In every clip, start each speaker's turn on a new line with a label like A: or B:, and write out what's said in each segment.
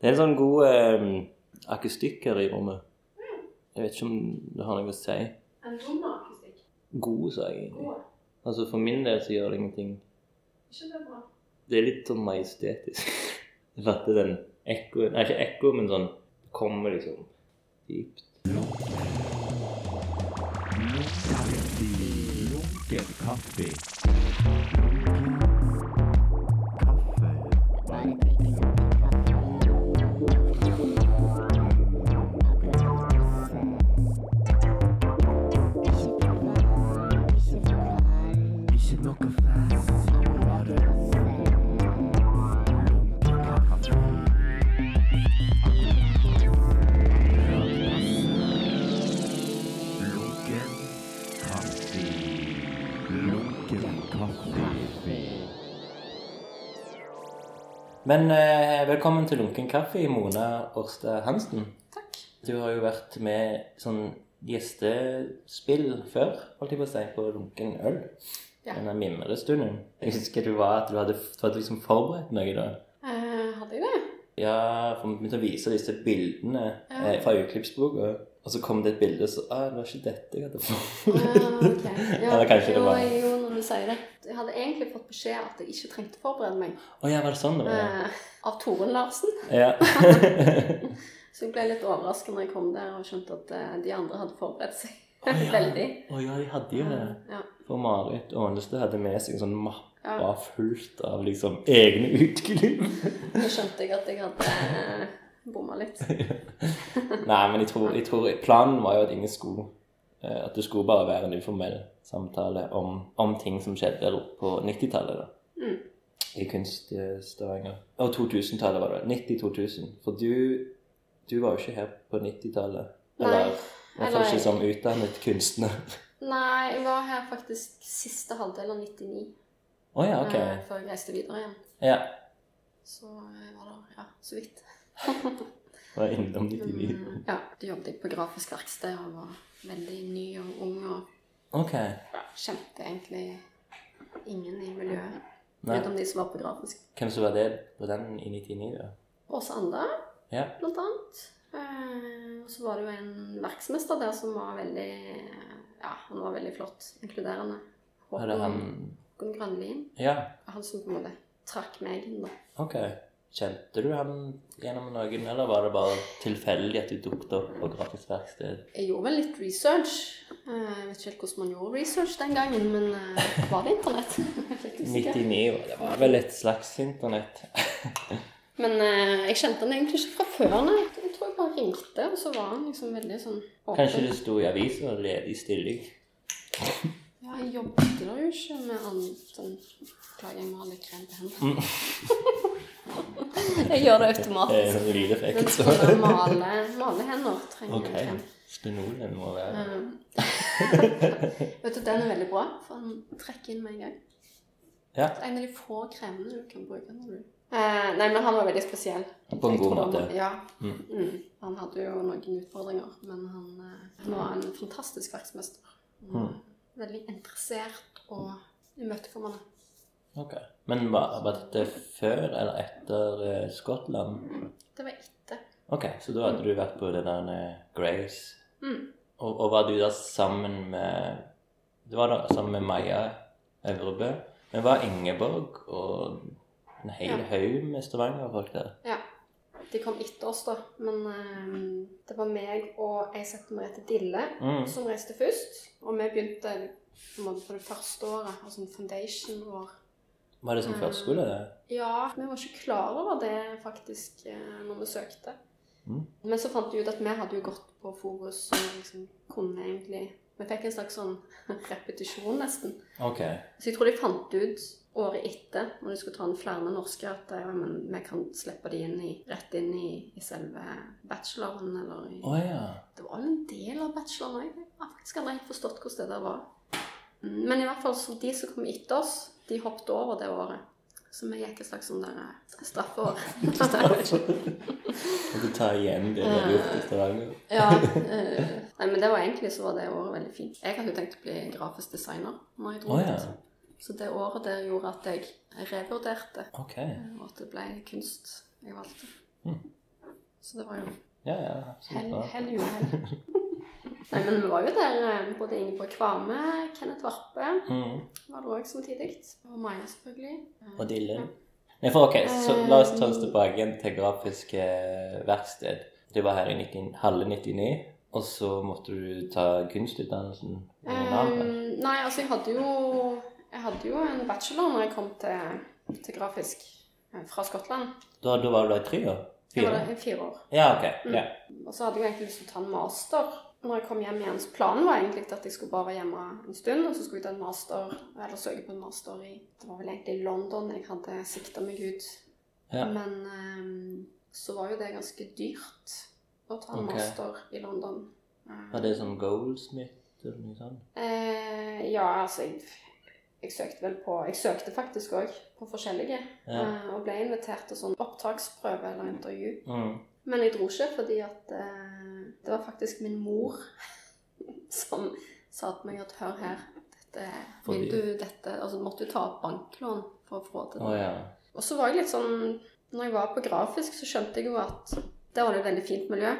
A: Det er en sånn god eh, akustikk her i rommet. Jeg vet ikke om det har noe å si.
B: En dum akustikk.
A: God, sa jeg egentlig.
B: God.
A: Altså For min del så gjør det ingenting.
B: Ikke det bra?
A: Det er litt sånn majestetisk. Jeg fatter den ekkoen Nei, ikke ekko, men sånn det Kommer liksom dypt.
C: Lunken kaffe. Ikke noe fast. Lunken kaffe. Lunken kaffe.
A: Men eh, velkommen til Lunken kaffe, Mona Årstad Hansen.
B: Takk.
A: Du har jo vært med sånn gjestespill før, holdt jeg på å si, på Lunken øl.
B: Ja.
A: Denne mimrestunden. Jeg husker du var at du hadde, du hadde liksom forberedt noe da.
B: Eh, hadde jeg det?
A: Ja, for vi begynte å vise disse bildene
B: Ja.
A: eh, fra uklippsboka. Og så kom det et bilde, så ah, det var ikke dette jeg hadde
B: Ah,
A: forberedt.
B: ok.
A: Eller kanskje det
B: jo,
A: var-
B: Jo, når du sier det. Jeg hadde egentlig fått beskjed at jeg ikke trengte forberede meg.
A: Å ja, var det sånn det var? ja?
B: Eh, av Torunn Larsen.
A: Ja.
B: Så jeg ble litt overrasket når jeg kom der og skjønte at eh, de andre hadde forberedt seg
A: Å ja.
B: veldig.
A: Å ja, de hadde jo det.
B: Ja.
A: For Marit Aanestad hadde med seg en sånn mappe
B: ja.
A: fullt av liksom egne utklipp.
B: Nå skjønte jeg at jeg hadde eh, bomma litt.
A: Nei, men jeg tror, jeg tror planen var jo at ingen skulle eh, At det skulle bare være en uformell samtale om, om ting som skjedde på 90-tallet. da.
B: Mm.
A: I kunst i Stavanger. Og 2000-tallet var det. 90-2000. For du, du var jo ikke her på 90-tallet.
B: Nei.
A: Eller i hvert fall
B: eller-
A: ikke som utdannet kunstner.
B: Nei, jeg var her faktisk siste halvdel av 99
A: Å ja, ok.
B: eh, før jeg reiste videre igjen.
A: Ja.
B: Så jeg var der, ja, så vidt.
A: Var innom 99.
B: Mm, ja, da jobbet jeg på grafisk verksted og var veldig ny og ung og
A: Ok.
B: kjente egentlig ingen i miljøet.
A: Nei.
B: Utenom de som var på grafisk.
A: Hvem som var det på den i 99? da?
B: Åse Anda,
A: Ja.
B: blant annet. Eh, og så var det jo en verksmester der som var veldig Ja, han var veldig flott. Inkluderende.
A: Er det han
B: Håkon Grønlien.
A: Ja,
B: Han som på en måte trakk meg inn, da.
A: ok. Kjente du han gjennom noen, eller var det bare tilfeldig at du dukket opp på grafisk verksted?
B: Jeg gjorde vel litt research. Eh, Jeg vet ikke helt hvordan man gjorde research den gangen, men eh, var det internett? Jeg er litt usikker.
A: 99, og det var vel et slags internett.
B: Men eh, jeg kjente han egentlig ikke fra før, nei. Jeg tror jeg bare ringte, og så var han liksom veldig sånn åpen.
A: Kanskje det sto i avisen og ledig stilling?
B: Ja, jeg jobbet der jo ikke med sånn annet enn Beklager, jeg må ha litt krem på
A: Mm.
B: hendene. jeg gjør det
A: Det er
B: automatisk.
A: en
B: Men
A: lydeffekt. Eh, så.
B: til å male, male hender trenger
A: Ok.
B: jeg krem.
A: Stenolen må være
B: Eh, vet du, den er veldig bra, for den trekker inn med en gang.
A: Ja,
B: Det er En av de få kremene du kan bruke når du eh, Nei, men han var veldig spesiell.
A: på en
B: Jeg
A: god
B: tror han
A: måte.
B: var- Ja.
A: Mm.
B: Mm. Han hadde jo noen utfordringer, men han, eh, han var en fantastisk verksmester. Han var
A: Mm.
B: Veldig interessert og imøtekommende.
A: Ok. Men var, var dette før eller etter eh, Skottland?
B: Det var etter.
A: Ok, så da hadde du vært på den der eh, Grace
B: Mm.
A: Og, og var du da sammen med Du var da sammen med Maja Øvrebø. Men var Ingeborg og en hel
B: Ja.
A: haug med Stavanger-folk der?
B: Ja. De kom etter oss, da. Men eh, det var meg og ei som heter Merete Dille
A: Mm.
B: som reiste først. Og vi begynte på en måte, på det første året, altså en foundation-år.
A: Var det som
B: Mm.
A: førskole? det?
B: Ja, vi var ikke klar over det faktisk eh, når vi søkte.
A: Mm.
B: Men så fant vi ut at vi hadde jo gått på Forus og liksom kunne egentlig Vi fikk en slags sånn repetisjon, nesten.
A: Ok.
B: Så jeg tror de fant ut året etter, når de skulle ta inn flere norske, at eh, ja, men, vi kan slippe de inn i, rett inn i, i selve bacheloren, eller i
A: Å ja.
B: det var jo en del av bacheloren òg. Jeg har faktisk aldri helt forstått hvordan det der var. Mm, Men i hvert fall så de som kom etter oss, de hoppet over det året. Så vi gikk et slags sånn der eh, straffeår.
A: Og du tar igjen det du har gjort i Stavanger?
B: ja. eh, Nei, men det var egentlig så var det året veldig fint. Jeg hadde jo tenkt å bli grafisk designer når jeg dro
A: Å, ja.
B: ut. Så det året der gjorde at jeg revurderte,
A: Ok.
B: eh, og at det ble kunst jeg valgte.
A: Mm.
B: Så det var jo
A: Ja, ja. absolutt
B: hell,
A: bra.
B: hell i uhell. Nei, men vi var jo der eh, både Ingeborg Kvame, Kenneth Varpe
A: Mm.
B: var der òg samtidig. Og Maja, selvfølgelig. Eh,
A: Og Dille. Nei, for ok, så La oss ta oss tilbake igjen til grafisk eh, verksted. Du var her i 19, halve 99, og så måtte du ta kunstutdannelsen i Nammen.
B: Ehm, nei, altså jeg hadde jo Jeg hadde jo en bachelor når jeg kom til, til grafisk eh, fra Skottland.
A: Da, da var du der i tre år?
B: Jeg
A: Fire?
B: var der i fire år.
A: Ja, ok.
B: Mm.
A: Ja.
B: Og så hadde jeg jo egentlig lyst til å ta en master. Når jeg kom hjem igjen, så Planen var egentlig at jeg skulle bare være hjemme en stund, og så skulle jeg ta en master, eller søke på en master i Det var vel egentlig i London jeg hadde sikta meg ut.
A: Ja.
B: Men ehm, så var jo det ganske dyrt å ta en
A: Ok.
B: master i London. Eh,
A: Var det sånn Goldsmith eller noe sånt?
B: Eh, ja, altså jeg, jeg søkte vel på Jeg søkte faktisk òg på forskjellige.
A: Ja.
B: Eh, og ble invitert til sånn opptaksprøve eller intervju.
A: Mm.
B: Men jeg dro ikke fordi at eh, det var faktisk min mor som sa til meg at hør her, dette vil
A: Fordi-
B: du dette Altså måtte du ta opp banklån for å få
A: Å
B: til det.
A: ja.
B: Og så var jeg litt sånn Når jeg var på grafisk, så skjønte jeg jo at der var det et veldig fint miljø.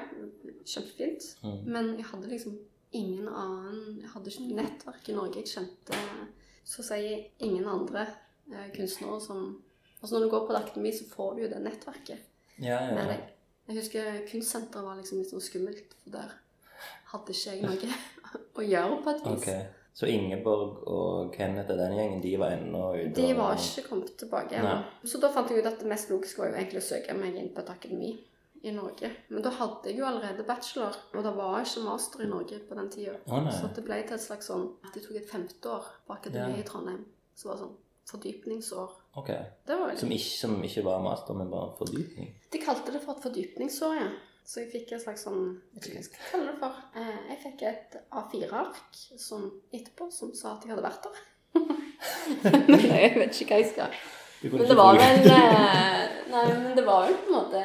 B: Kjempefint.
A: Mm.
B: Men jeg hadde liksom ingen annen Jeg hadde ikke noe nettverk i Norge. Jeg kjente så å si ingen andre eh, kunstnere som Altså når du går på det akademi, så får du jo det nettverket
A: Ja, ja.
B: med
A: ja.
B: deg. Jeg husker kunstsenteret var liksom litt sånn skummelt, for der hadde ikke jeg noe å gjøre på et vis.
A: Ok. Så Ingeborg og Kenneth og den gjengen, de var ennå ute?
B: De
A: og-
B: var ikke kommet tilbake ennå. Så da fant jeg ut at det mest logiske var jo egentlig å søke meg inn på et akademi i Norge. Men da hadde jeg jo allerede bachelor, og det var ikke master i Norge på den tida.
A: Å nei.
B: Så at det ble til et slags sånn at jeg tok et femte år på akademiet
A: Ja.
B: i Trondheim. Så var det sånn fordypningsår.
A: Ok.
B: Det var
A: Som
B: veldig
A: ikke, som ikke var master, men bare fordypning?
B: De kalte det for et fordypningsår, ja. Så jeg fikk et slags sånn Vet ikke hva jeg skal kalle det for. Eh, jeg fikk et A4-ark som etterpå som sa at jeg hadde vært der. Men jeg vet ikke hva jeg skal
A: Du kunne
B: Men
A: ikke
B: det var
A: bruke-
B: vel eh, Nei, men det var jo på en måte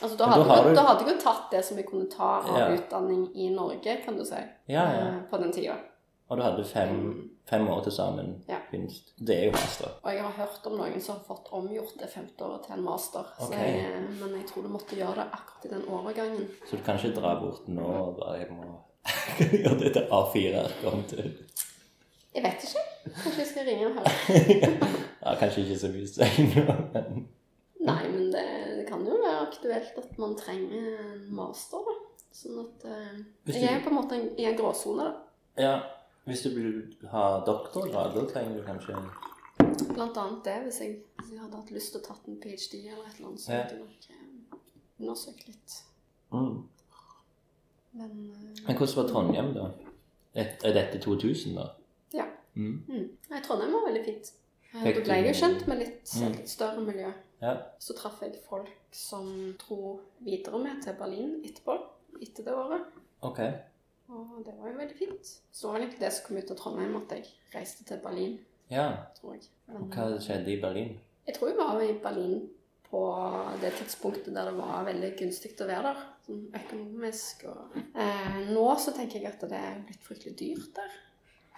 B: Altså, da
A: Men da
B: hadde,
A: har
B: jeg jo-
A: du-
B: da hadde jeg jo tatt det som jeg kunne ta av
A: Ja.
B: utdanning i Norge, kan du si,
A: Ja, ja.
B: eh, på den tida.
A: Og du hadde fem, fem år til sammen
B: Ja.
A: kunst. Det er jo master.
B: Og jeg har hørt om noen som har fått omgjort det femte året til en master.
A: Ok.
B: Så jeg, eh, men jeg tror du måtte gjøre det akkurat i den overgangen.
A: Så du kan ikke dra bort nå og bare jeg må gjøre det til A4 kom til.
B: Jeg vet ikke. Kanskje jeg skal ringe og høre.
A: ja, kanskje ikke så mye støy nå, men
B: Nei, men det, det kan jo være aktuelt at man trenger en master, da. Sånn at eh,
A: Hvis du-
B: Jeg er på en måte en, i en gråsone, da.
A: Ja, hvis du vil ha doktorgrad, da trenger du kanskje en
B: Blant annet det, hvis jeg, hvis jeg hadde hatt lyst til å tatt en ph.d. eller et eller annet, så
A: Ja.
B: hadde jeg nok eh, undersøkt litt.
A: mm.
B: Men eh,
A: Men hvordan var Trondheim, da? Et, er dette 2000, da?
B: Ja.
A: Mm.
B: mm. Nei, Trondheim var veldig fint. Eh,
A: Fikk
B: Da ble jeg jo
A: du-
B: kjent med litt,
A: Mm.
B: litt større miljø.
A: Ja.
B: Så traff jeg folk som dro videre med til Berlin etterpå, etter det året.
A: Ok.
B: Og det var jo veldig fint. Så det var egentlig det som kom ut av Trondheim, at jeg reiste til Berlin,
A: Ja.
B: tror jeg.
A: Og
B: Men
A: hva skjedde i Berlin?
B: jeg tror jeg var i Berlin på det tidspunktet der det var veldig gunstig å være der, sånn økonomisk og eh, Nå så tenker jeg at det er blitt fryktelig dyrt der.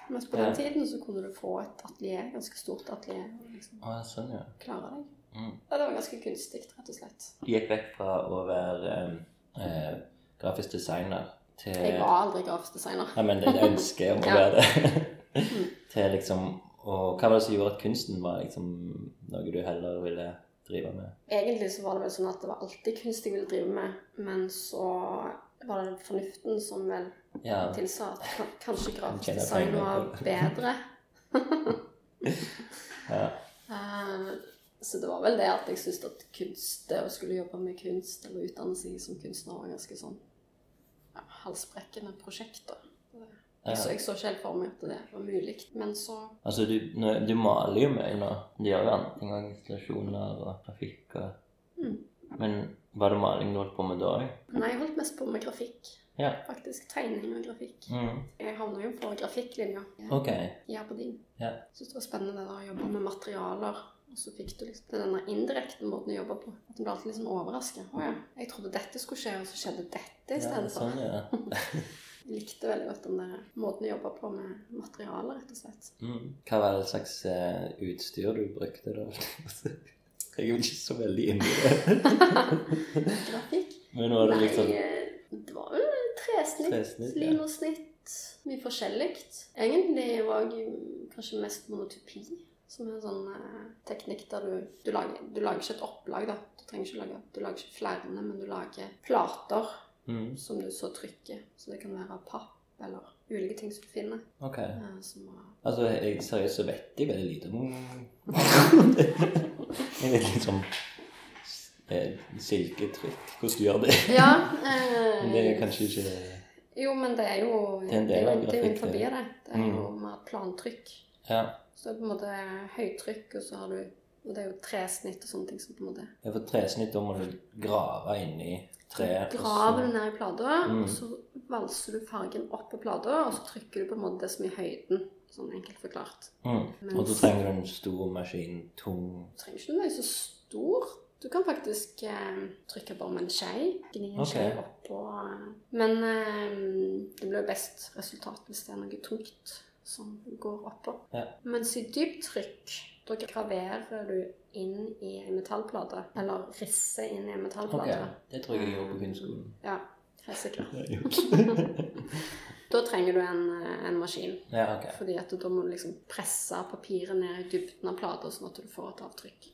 B: Mens på den
A: Ja.
B: tiden så kunne du få et atelier, ganske stort atelier, og liksom
A: Å, sånn, ja.
B: klare deg.
A: Mm.
B: Ja, det var ganske gunstig, rett og slett.
A: Du gikk vekk fra å være eh, eh, grafisk designer til
B: Jeg var aldri grafisk designer.
A: Nei, men det er et ønske om å
B: Ja. Mm.
A: være det. til liksom Og hva var det som gjorde at kunsten var liksom noe du heller ville drive med?
B: Egentlig så var det vel sånn at det var alltid kunst jeg ville drive med, men så var det fornuften som vel
A: Ja.
B: tilsa at kan- kanskje grafisk
A: Tjener
B: design
A: penger
B: var
A: på det.
B: bedre.
A: ja.
B: Eh, Så det var vel det at jeg syntes at kunst, det å skulle jobbe med kunst eller utdanne seg som kunstner, var ganske sånn ja, halsbrekkende prosjekt. da.
A: ja.
B: Så jeg så ikke helt for meg at det var mulig. Men så
A: Altså, du, nå- du maler jo mye nå. Du gjør jo andre ting, og installasjoner og grafikk og
B: Mm.
A: Men var det maling du holdt på med da òg?
B: Nei, jeg holdt mest på med grafikk.
A: Ja.
B: Faktisk tegning og grafikk.
A: Mm.
B: Jeg havna jo på grafikklinja.
A: Ok.
B: i Aberdeen.
A: Ja.
B: Jeg synes det var spennende det der å jobbe med materialer. Og så fikk du liksom det er denne indirekte måten å jobbe på. At du ble alltid liksom overrasket. Å ja, jeg trodde dette skulle skje, og så skjedde dette
A: Ja,
B: istedenfor.
A: sånn, ja.
B: Jeg likte veldig godt den der måten å jobbe på med materialer, rett og slett.
A: Mm. Hva var det slags eh, utstyr du brukte da? jeg er jo ikke så veldig inni det.
B: Grafikk.
A: Men nå er det liksom
B: Nei, eh, det var jo tresnitt,
A: Tresnitt, ja.
B: linosnitt, mye forskjellig. Egentlig var jeg kanskje mest monotypi, som er en sånn eh, teknikk der du, du, lager, du lager ikke et opplag, da. Du trenger ikke lage, du lager ikke flærene, men du lager plater
A: mm,
B: som du så trykker. Så det kan være papp eller ulike ting som du finner.
A: Ok.
B: eh, Som var
A: Altså, jeg, seriøst så vet jeg veldig lite om Jeg vet liksom eh, silketrykk, hvordan du gjør det.
B: Ja. eh,
A: Men det er kanskje ikke
B: Jo, men det er jo
A: Det er en del av
B: det er jo
A: grafikk,
B: innenfor
A: det.
B: det. Det er jo
A: Mm.
B: mer plantrykk.
A: Ja.
B: Så det er på en måte høytrykk, og så har du og det er jo tresnitt og sånne ting som på en måte
A: Jeg får tresnitt, da må du grave inni treet. og så-
B: Graver du ned i plata,
A: Mm.
B: og så valser du fargen opp på plata, og så trykker du på en måte det som er i høyden. Sånn enkelt forklart.
A: Mm. Og da
B: Mens-
A: trenger du en stor maskin, tung
B: Du trenger ikke noe så stor. Du kan faktisk eh, trykke bare med en skei. Gni en
A: Ok.
B: skei oppå eh. Men eh, det blir jo best resultat hvis det er noe tungt som går oppå.
A: Ja.
B: Mens i dypt trykk, da graverer du inn i en metallplate. Eller risser inn i en
A: Ok,
B: metallplate.
A: Det tror jeg jeg gjorde på kunstskolen.
B: Ja, helt sikkert. Da trenger du en, eh, en maskin.
A: ja, ok.
B: Fordi at da må du liksom presse papiret ned i dybden av plata, sånn at du får et avtrykk.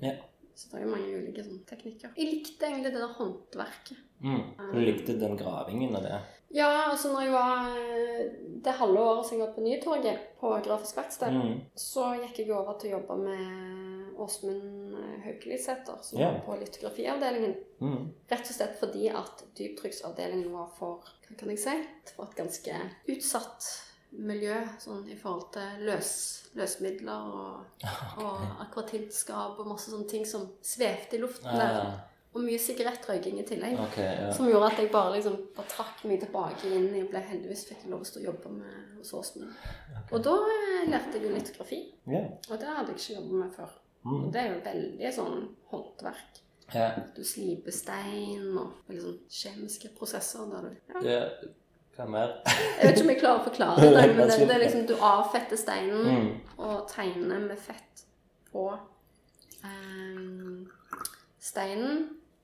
A: Ja.
B: Så det er jo mange ulike sånne teknikker. Jeg likte egentlig det der håndverket.
A: Mm. Du likte den gravingen og det?
B: Ja, altså når jeg var eh, det halve året som jeg var på Nytorget, på Grafisk verksted,
A: Mm.
B: så gikk jeg over til å jobbe med Åsmund eh, Haukelisæter, som
A: Ja.
B: var på litografiavdelingen.
A: Mm.
B: Rett og slett fordi at dyptrykksavdelingen var for hva kan jeg si, for et ganske utsatt miljø sånn i forhold til løs, løsmidler og, og akvatintskap og masse sånne ting som svevde i luften der.
A: Ah,
B: Og mye sigarettrøyking i tillegg.
A: ok, ja.
B: Som gjorde at jeg bare liksom bare trakk meg tilbake inn. Jeg ble heldigvis fikk jeg lov å stå og jobbe med hos Åsmund. Og da eh, lærte jeg jo litografi.
A: ja.
B: Og det hadde jeg ikke jobbet med før. Og
A: Mm.
B: det er jo veldig sånn håndverk.
A: ja.
B: Du sliper stein og veldig sånn kjemiske prosesser der du ja.
A: Ja. Hva mer?
B: Jeg vet ikke om jeg klarer å forklare det, men det, det er liksom du avfetter steinen
A: Mm.
B: og tegner med fett på ehm, steinen,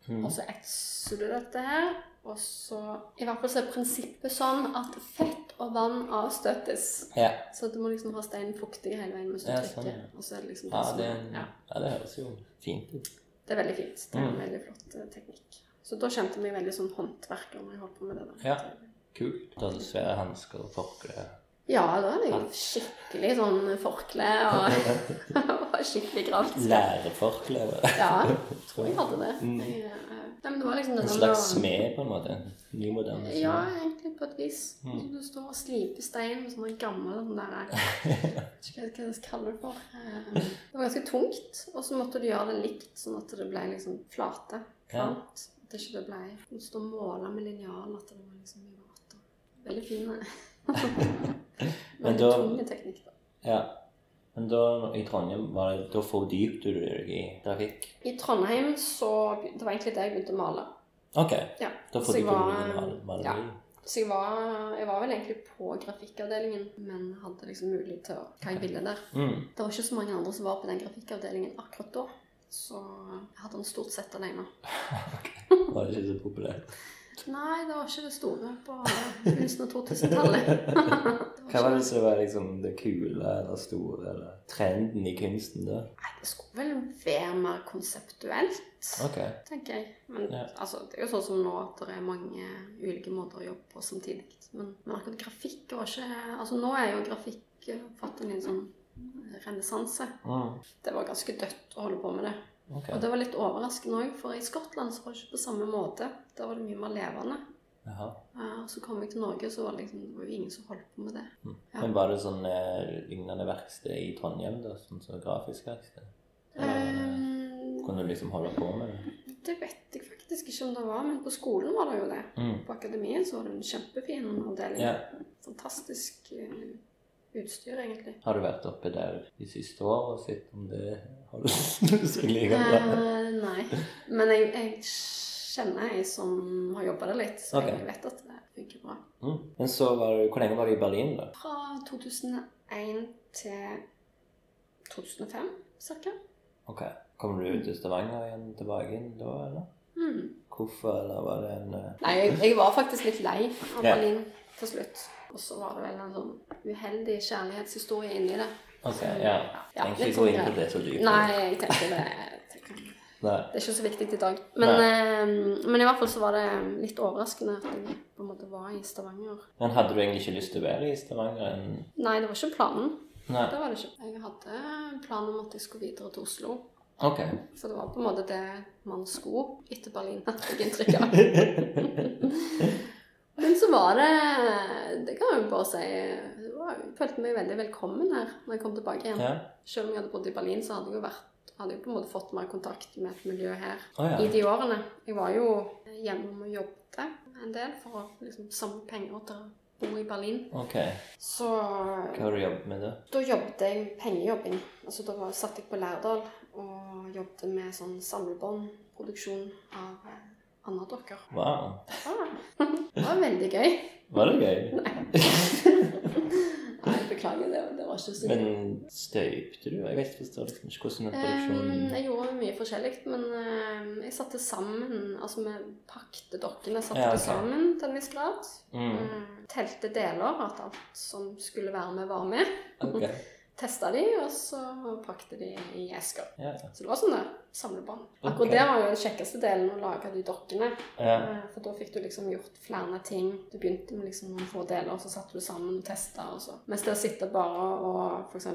A: Mm.
B: og så etser du dette her, og så I hvert fall så er prinsippet sånn at fett og vann avstøtes.
A: Ja.
B: Så du må liksom ha steinen fuktig hele veien mens du
A: Ja, sånn,
B: trykker.
A: ja.
B: Og så er det liksom
A: Ja,
B: som
A: det,
B: er- ja.
A: ja, det høres jo fint ut.
B: Det er veldig fint. Det er en
A: Mm.
B: veldig flott eh, teknikk. Så da kjente jeg meg veldig sånn håndverker når jeg holdt på med det. der.
A: Ja. Kult. Du hadde svære hansker og forkle.
B: ja, da hadde jeg skikkelig sånn forkle og var skikkelig gravd.
A: Læreforkle. eller?
B: Ja, jeg tror jeg hadde det.
A: Mm.
B: Jeg, eh, Nei, men det var liksom det
A: En
B: der
A: slags
B: med å-
A: smed, på en måte. Ny, moderne smed.
B: Ja, egentlig på et vis.
A: Mm.
B: Du står og sliper stein med sånne gamle sånne sånn der Jeg vet ikke hva jeg skal kalle det for. Eh, Det var ganske tungt, og så måtte du gjøre det likt, sånn at det ble liksom flate.
A: Ja.
B: Klant. At det ikke det ble Du står og måler med linjal at det var liksom mye vater. Veldig fin. eh.
A: Men
B: Veldig
A: da-
B: tung teknikk, da.
A: ja. Men da i Trondheim var det, da fordypte du deg i grafikk?
B: I Trondheim så Det var egentlig der jeg begynte å male.
A: Ok.
B: Ja.
A: Da
B: Så jeg
A: fordypte du deg i
B: var-
A: mal- maleri?
B: ja. Så jeg var, jeg var vel egentlig på grafikkavdelingen, men hadde liksom mulighet til å hva jeg ville der.
A: Mm.
B: Det var ikke så mange andre som var på den grafikkavdelingen akkurat da. Så jeg hadde den stort sett alene.
A: Var det ikke så populært?
B: Nei, det var ikke det store på begynnelsen av 2000-tallet. Det var
A: Hva
B: ikke-
A: var det som var liksom det kule eller store eller trenden i kunsten da?
B: Nei, det skulle vel være mer konseptuelt,
A: Ok.
B: tenker jeg. Men
A: Ja.
B: altså, det er jo sånn som nå at det er mange ulike måter å jobbe på samtidig. Men, men akkurat grafikk var ikke Altså, nå er jo grafikk eh, fått en litt sånn eh, renessanse.
A: Mm.
B: Det var ganske dødt å holde på med det.
A: Ok.
B: Og det var litt overraskende òg, for i Skottland så var det ikke på samme måte. Der var det mye mer levende.
A: Jaha.
B: Eh, Og så kom jeg til Norge, så var det liksom det var jo ingen som holdt på med det. Ja.
A: Men var det sånn eh, lignende verksted i Trondheim da? Sånn som grafisk verksted? Eller
B: Eh,
A: kunne du liksom holde på med det?
B: Det vet jeg faktisk ikke om det var, men på skolen var det jo det.
A: Mm.
B: På akademiet så var det en kjempefin avdeling.
A: Ja.
B: Fantastisk eh, utstyr, egentlig.
A: Har du vært oppe der de siste årene og sett om det holder seg like bra?
B: Eh, nei. Men jeg, jeg kjenner ei som har jobba der litt, så
A: Ok.
B: jeg vet at det funker bra.
A: Mm. Men så var du, hvor lenge var du i Berlin da?
B: Fra 2001 til 2005, cirka.
A: Ok. Kommer du til Stavanger igjen tilbake igjen da, eller?
B: Mm.
A: Hvorfor, eller var det en eh,
B: Nei, jeg, jeg var faktisk litt lei av
A: Ja.
B: Berlin til slutt. Og så var det vel en sånn uheldig kjærlighetshistorie inni det.
A: Ok, ja.
B: Ja,
A: Trenger
B: litt
A: ikke gå
B: sånn
A: inn på
B: greier.
A: det så dypt.
B: Nei, jeg tenkte det det kan-
A: Nei.
B: Det er ikke så viktig i dag. Men, eh, men i hvert fall så var det litt overraskende at jeg på en måte var i Stavanger.
A: Men hadde du egentlig ikke lyst til å være i Stavanger? enn-
B: Nei, det var ikke planen.
A: Nei.
B: Det var det ikke. Jeg hadde planen om at jeg skulle videre til Oslo.
A: Ok.
B: Så det var på en måte det man skulle etter Berlin, fikk jeg inntrykk av. Men så var det Det kan jeg jo bare si det var- Jeg følte meg veldig velkommen her når jeg kom tilbake igjen.
A: Ja.
B: Selv om jeg hadde bodd i Berlin, så hadde jeg jo vært hadde jeg på en måte fått mer kontakt med et miljø her
A: Å ja.
B: i de årene. Jeg var jo hjemme og jobbet en del for å liksom samle penger til å bo i Berlin.
A: Ok.
B: Så
A: Hva har du jobbet med da?
B: da jobbet jeg pengejobbing. Altså, da var, satt jeg på Lærdal og jobbet med sånn samlebåndproduksjon av eh, andre dokker.
A: Wow.
B: Ah, det var veldig gøy.
A: Var det gøy?
B: Nei, beklager, det, det var ikke så
A: Men støypte du? Jeg vet forstår liksom ikke hvordan den
B: Ehm,
A: produksjonen
B: jeg gjorde mye forskjellig, men ehm, jeg satte sammen Altså, vi pakte dokkene, satte
A: Ja,
B: det
A: ok.
B: sammen til en viss grad.
A: mm.
B: Ehm, telte deler, at alt som skulle være med, var med.
A: Ok.
B: Testa de, og så pakte de i esker.
A: Ja.
B: Så det var sånne samlebånd. Akkurat
A: Ok.
B: det var jo den kjekkeste delen å lage de dokkene.
A: ja.
B: Eh, For da fikk du liksom gjort flere ting. Du begynte med liksom noen få deler, og så satte du sammen og testa og så. Mens det å sitte bare og f.eks.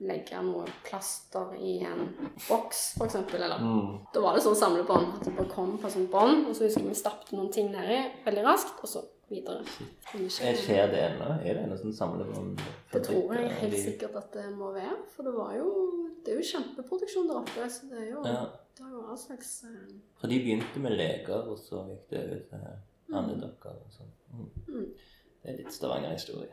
B: legge noe plaster i en boks, f.eks., eller
A: Mm.
B: Da var det sånn samlebånd. At det bare kom på sånn bånd, og så husker jeg vi stappet noen ting nedi veldig raskt, og så videre.
A: Jeg ser det ennå. Er det ennå sånn samlebånd?
B: Det tror jeg
A: eh,
B: helt sikkert at det må være. For det var jo Det er jo kjempeproduksjon der oppe, så det er jo
A: Ja.
B: Det er jo all slags eh,
A: For de begynte med leker, og så gikk det over til andre dokker og sånn. Mm.
B: Mm.
A: Det er litt Stavanger-historie.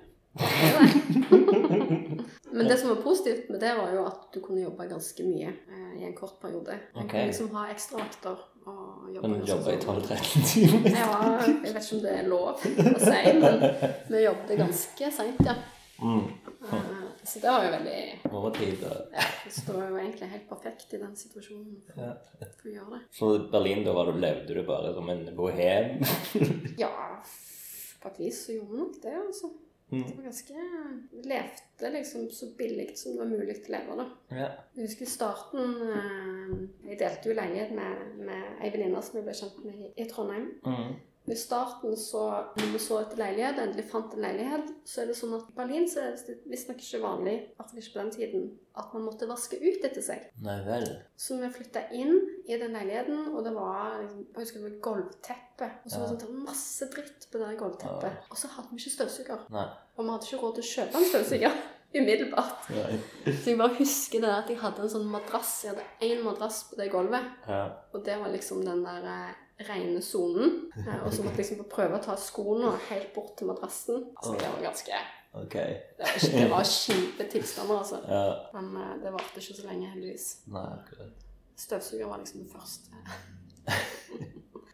B: Men det som var positivt med det, var jo at du kunne jobbe ganske mye eh, i en kort periode. Du
A: Ok.
B: kunne liksom ha ekstravakter og jobbe
A: Men
B: ganske
A: jobba i
B: sånn.
A: 12-13 timer.
B: Ja, jeg vet ikke om det er lov å si, men vi jobbet ganske seint, ja.
A: Mm.
B: Eh, Så det var jo veldig
A: Overtid og
B: ja, Så det var jo egentlig helt perfekt i den situasjonen for,
A: ja.
B: for å gjøre det.
A: Så i Berlin, da var du, levde du bare som en bohem?
B: Ja, på et vis så gjorde vi nok det, altså. Det
A: Mm.
B: var ganske Levde liksom så billig som det var mulig å leve, da.
A: Ja.
B: Jeg husker i starten eh, Jeg delte jo leilighet med, med ei venninne som jeg ble kjent med i- i Trondheim.
A: Mm.
B: I starten så når vi så etter leilighet, endelig fant en leilighet, så er det sånn at i Berlin så er det visstnok ikke vanlig, i hvert fall ikke på den tiden, at man måtte vaske ut etter seg.
A: Nei vel.
B: Så vi flytta inn i den leiligheten, og det var liksom, jeg husker det var gulvteppe. Og så var det sånn, det var masse dritt på det der gulvteppet. Og så hadde vi ikke støvsuger.
A: Nei.
B: Og vi hadde ikke råd til å kjøpe en støvsuger umiddelbart.
A: Nei.
B: Så jeg bare husker det der at jeg hadde en sånn madrass. Jeg hadde én madrass på det gulvet.
A: Ja.
B: Og det var liksom den der eh, rene sonen. Eh, Og så måtte jeg liksom bare prøve å ta skoene helt bort til madrassen. Altså, det var ganske
A: Ok.
B: Det var, ikke, det var kjipe tilstander, altså.
A: Ja.
B: Men eh, det varte ikke så lenge, heldigvis.
A: Nei, akkurat.
B: Støvsuger var liksom det første.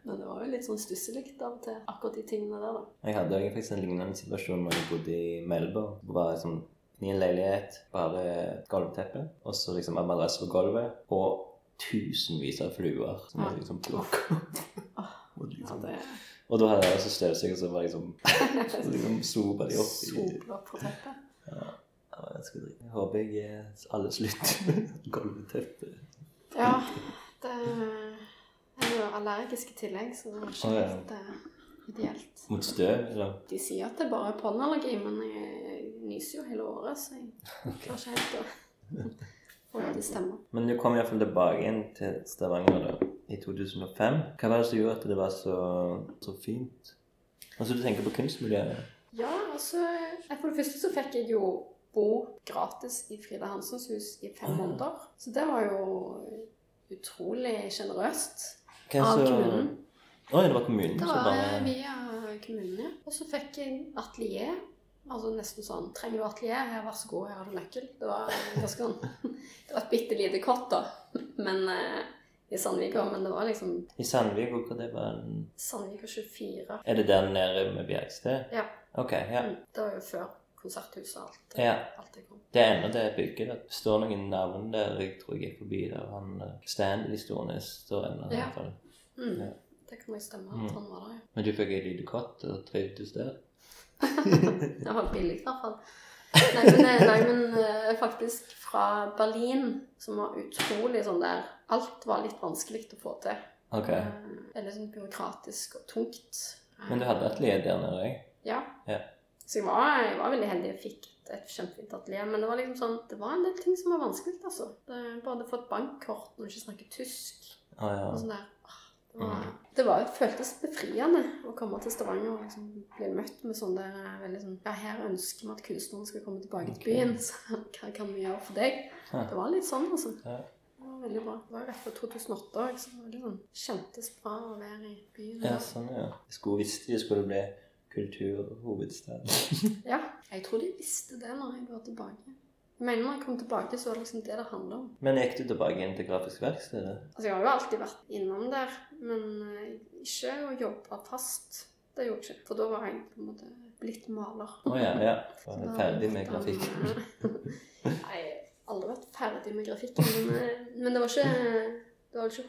B: Men det var jo litt sånn stusselig av og til, akkurat de tingene der, da.
A: Jeg hadde egentlig faktisk en lignende situasjon da jeg bodde i Melbourne. Det var liksom i en leilighet, bare gulvteppe, og så liksom en madrass på gulvet, og tusenvis av fluer som jeg liksom plukka opp. Og,
B: Ja,
A: liksom.
B: det
A: og da hadde jeg også støvsuger som var liksom, så liksom sopa de opp i
B: Sola på teppet.
A: Det var ganske dritt. Jeg håper jeg eh, alle slutter med gulvteppe.
B: Ja, det Jeg er jo allergisk i tillegg, så det var ikke
A: Å, ja.
B: helt eh, ideelt.
A: Mot støv, liksom. eller?
B: De sier at det bare er pollenallergi, men jeg nyser jo hele året, så jeg klarer ikke helt å få det til å stemme.
A: Men du kom i hvert fall tilbake igjen til Stavanger da, i 2005. Hva var det som gjorde at det var så, så fint? Altså, du tenker på kunstmiljøet?
B: Ja, altså jeg- For det første så fikk jeg jo bo gratis i Frida Hansens hus i fem måneder. Så det var jo utrolig sjenerøst
A: Hva
B: av
A: så-
B: kommunen.
A: Å ja, det var kommunen
B: Det
A: som
B: var
A: bare
B: via kommunen, ja. Og så fikk jeg atelier. Altså nesten sånn 'Trenger du atelier? Her, vær så god, her har du nøkkel.' Det var ganske sånn Det var et bitte lite kott, da. Men eh, i Sandvika. Men det var liksom
A: I Sandvik, hvor det var en...
B: Sandvika 24.
A: Er det der nede med Bjergsted?
B: Ja.
A: Ok, ja.
B: Mm, Det var jo før konserthuset og alt,
A: Ja.
B: alt det kom.
A: Det er ennå det bygget. Det står noen navn der. Jeg tror jeg gikk forbi der. Han eh, Stanley Stornes står ennå. i
B: Ja.
A: hvert fall.
B: Mm.
A: Ja.
B: Det kan jeg stemme.
A: Mm.
B: at han var der, ja.
A: Men du fikk et lite kott og trivdes der?
B: Det var billig i hvert fall. Nei, men, det- nei, men eh, faktisk fra Berlin, som var utrolig sånn der Alt var litt vanskelig å få til.
A: Ok.
B: Eh, Veldig sånn byråkratisk og tungt.
A: Men du hadde atelier der nede òg?
B: Ja.
A: Ja.
B: Så jeg var, jeg var veldig heldig og fikk et, et kjempefint atelier. Men det var liksom sånn, det var en del ting som var vanskelig, altså. Det, bare det å få et bankkort når du ikke snakker tysk
A: Å ja.
B: og sånn der. Ah, Det var,
A: Mm.
B: det var, det føltes befriende å komme til Stavanger og liksom bli møtt med sånn der eh, veldig sånn Ja, her ønsker vi at kunstneren skal komme tilbake
A: Ok.
B: til byen, så hva kan vi gjøre for deg?
A: Ja.
B: Det var litt sånn, altså.
A: Ja.
B: Det var veldig bra. Det var rett før 2008 òg, så det var litt sånn, kjentes bra å være i byen.
A: ja, sånn ja. Jeg skulle visst det skulle bli kulturhovedstad.
B: Ja, jeg tror de visste det når jeg var tilbake. Jeg mener når jeg kom tilbake, så var det liksom det det handlet om.
A: Men gikk du tilbake inn til grafisk verksted? da?
B: Altså, jeg har jo alltid vært innom der, men eh, ikke å jobbe fast. Det gjorde jeg ikke, for da var jeg på en måte blitt maler.
A: Å ja, ja.
B: Så
A: Var
B: da
A: du
B: har
A: ferdig
B: jeg
A: med
B: vært
A: grafikk?
B: an- Nei, jeg har aldri vært ferdig med grafikken, men, eh, men det var ikke, det var ikke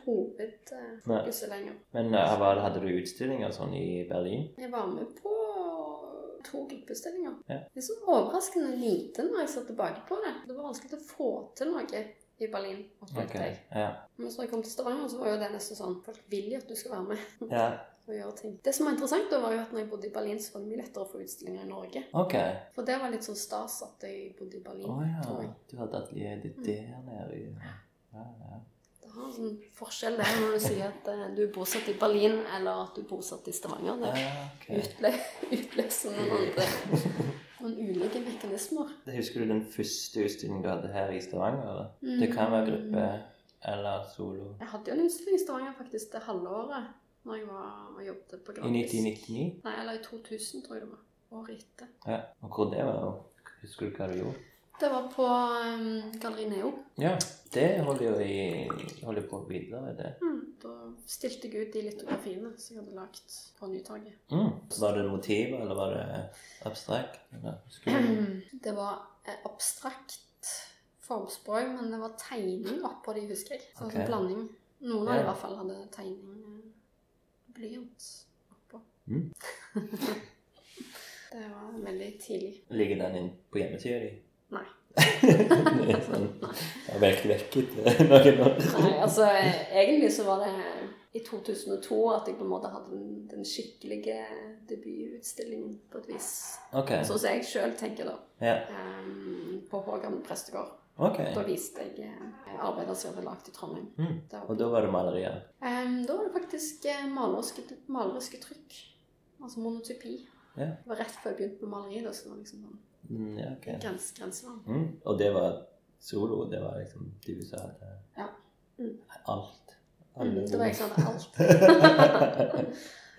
B: hovedfokuset lenger.
A: Men eh, hva hadde du utstillinger sånn i Berlin?
B: Jeg var med på to gruppestillinger.
A: Ja.
B: Det er så overraskende lite når jeg ser tilbake på det. Det var vanskelig å få til noe i Berlin. opplevde
A: Ok,
B: jeg.
A: Ja.
B: Men så når jeg kom til Stavanger, så var jo det nesten sånn Folk vil jo at du skal være med
A: ja.
B: og gjøre ting. Det som var interessant, da var jo at når jeg bodde i Berlin, så var det mye lettere å få utstillinger i Norge.
A: Ok.
B: For det var litt sånn stas at jeg bodde i Berlin.
A: Å
B: tror
A: ja.
B: jeg.
A: Du hadde atelier ditt der nede i ja, ja.
B: Det har en sånn forskjell der når du sier at eh, du er bosatt i Berlin, eller at du er bosatt i Stavanger. Det
A: ja, ok.
B: utle utløser noen andre noen ulike mekanismer.
A: Husker du den første utstillingen du hadde her i Stavanger? eller? Det kan være gruppe eller solo.
B: Mm. Jeg hadde jo en utstilling i Stavanger faktisk det halve året når jeg var og jobbet på
A: I 1999?
B: Nei, eller i 2000 tror jeg det var. Året etter.
A: Ja. Og hvor det var? Husker du hva du gjorde?
B: Det var på um, Galleri Neo.
A: Ja, det holder jo i, holder på videre, det.
B: Da stilte jeg ut de litografiene som jeg hadde lagt på Nytorget.
A: Mm. Så var det motiver, eller var det abstrakt? Eller? Husker du?
B: Det var eh, abstrakt formspråk, men det var tegning oppå de, husker jeg. Så det var
A: Ok.
B: en blanding. Noen av de
A: Ja.
B: i hvert fall hadde tegning eh, blyant oppå.
A: Mm.
B: det var veldig tidlig.
A: Ligger den inn på hjemmesida di?
B: Nei.
A: det er sånn Jeg har vært vekk etter noen år.
B: Nei, altså eh, egentlig så var det i 2002 at jeg på en måte hadde den, den skikkelige debututstillingen på et vis.
A: Ok.
B: Sånn som jeg sjøl tenker, da.
A: Ja.
B: eh, På Hå gamle prestegård.
A: ok.
B: Da viste jeg eh, arbeider som jeg hadde lagd i Trondheim.
A: Mm.
B: Da,
A: Og da var det malerier?
B: Em, da var det faktisk eh, maleriske, maleriske trykk. Altså monotypi.
A: Ja.
B: Det var rett før jeg begynte med maleri. da, så det var liksom sånn
A: Mm, ja, ok.
B: grens, grenseland.
A: Mm. Og det var solo? Det var liksom du som hadde
B: Ja. Mm.
A: alt?
B: Mm,
A: Alle
B: det var jeg som hadde alt.
A: roller.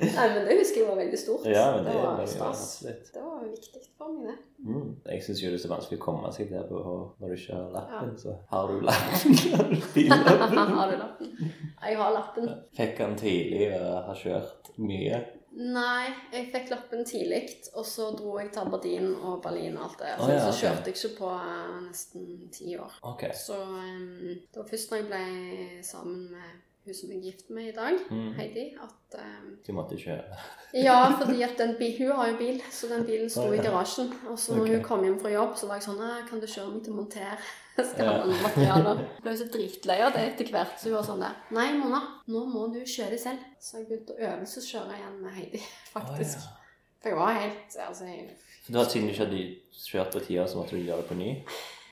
B: Nei, men det husker jeg var veldig stort.
A: ja, men det,
B: det var
A: var jo
B: stas.
A: absolutt.
B: Det var viktig for meg, det.
A: Mm. Jeg syns jo det er så vanskelig å komme seg der på når du ikke har lappen.
B: Ja.
A: Så har du lappen? Har du billappen?
B: har du lappen? Jeg har lappen.
A: Fikk han tidlig og har kjørt mye.
B: Nei, jeg fikk lappen tidlig, og så dro jeg til Aberdeen og Berlin og alt det.
A: Å,
B: Så,
A: ja,
B: så
A: ok.
B: kjørte jeg ikke på eh, nesten ti år.
A: Ok.
B: Så eh, det var først når jeg ble sammen med hun som jeg er gift med i dag,
A: Mm.
B: Heidi, at eh,
A: Du måtte kjøre.
B: Ja, fordi at den bi hun har jo bil, så den bilen sto
A: Å, ja.
B: i garasjen. Og så når
A: Ok.
B: hun kom hjem fra jobb, så var jeg sånn «Nei, Kan du kjøre meg til monter? Skal
A: Ja.
B: ha noen materialer. Jeg Ble jo så dritlei av det etter hvert, så hun var sånn der Nei, Mona, nå må du kjøre selv. Så jeg begynte å øvelseskjøre igjen med Heidi, faktisk.
A: Å, ja.
B: For jeg var helt Altså, jeg,
A: Så da, siden du ikke hadde kjørt på tida, så måtte du gjøre det på ny?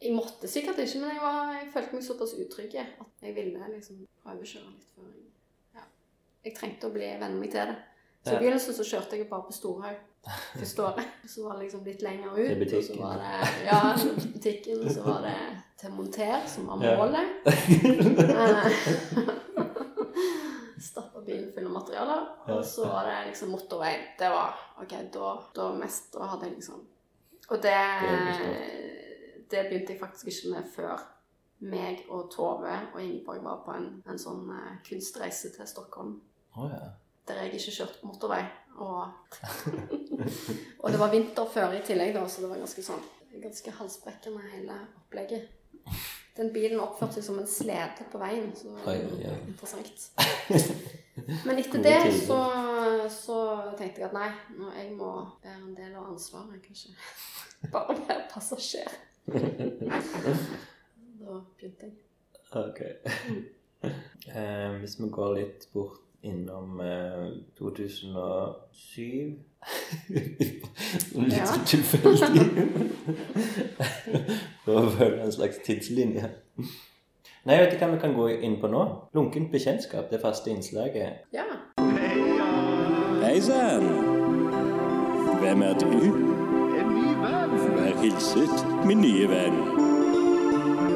B: jeg måtte sikkert ikke, men jeg, var, jeg følte meg såpass utrygg at jeg ville liksom prøvekjøre litt før jeg Ja. Jeg trengte å bli venne meg til det. Så
A: Ja.
B: i begynnelsen så kjørte jeg bare på Storhaug første året. Så var det liksom litt lenger ut.
A: Til
B: og så
A: butikken.
B: var det, ja, til butikken. og Så var det til Monter, som var
A: Ja.
B: målet. Eh, Stappa bilen full av materialer.
A: Ja.
B: Og så var det liksom motorvei. Det var OK, da, da mest Da hadde jeg liksom Og det Det begynte jeg faktisk ikke med før meg og Tove og Ingeborg var på en, en sånn eh, kunstreise til Stockholm
A: Å ja.
B: der jeg ikke kjørte på motorvei. Og, og det var vinter før i tillegg, da, så det var ganske sånn ganske halsbrekkende hele opplegget. Den bilen oppførte seg som en slede på veien, så det var
A: Oi, oi.
B: interessant. Men etter
A: Gode
B: det
A: tilbud.
B: så, så tenkte jeg at nei, nå jeg må bære en del av ansvaret. Jeg kan ikke bare være passasjer. Da begynte jeg.
A: Ok. Eh, hvis vi går litt bort innom eh, 2007 Litt
B: Ja.
A: ja. tilfeldig. For å følge en slags tidslinje. Nei, vet du hva vi kan gå inn på nå? Lunkent bekjentskap, det faste innslaget.
B: Ja.
D: Hei sann! Hvem er du? En ny venn. Vær hilset, min nye venn.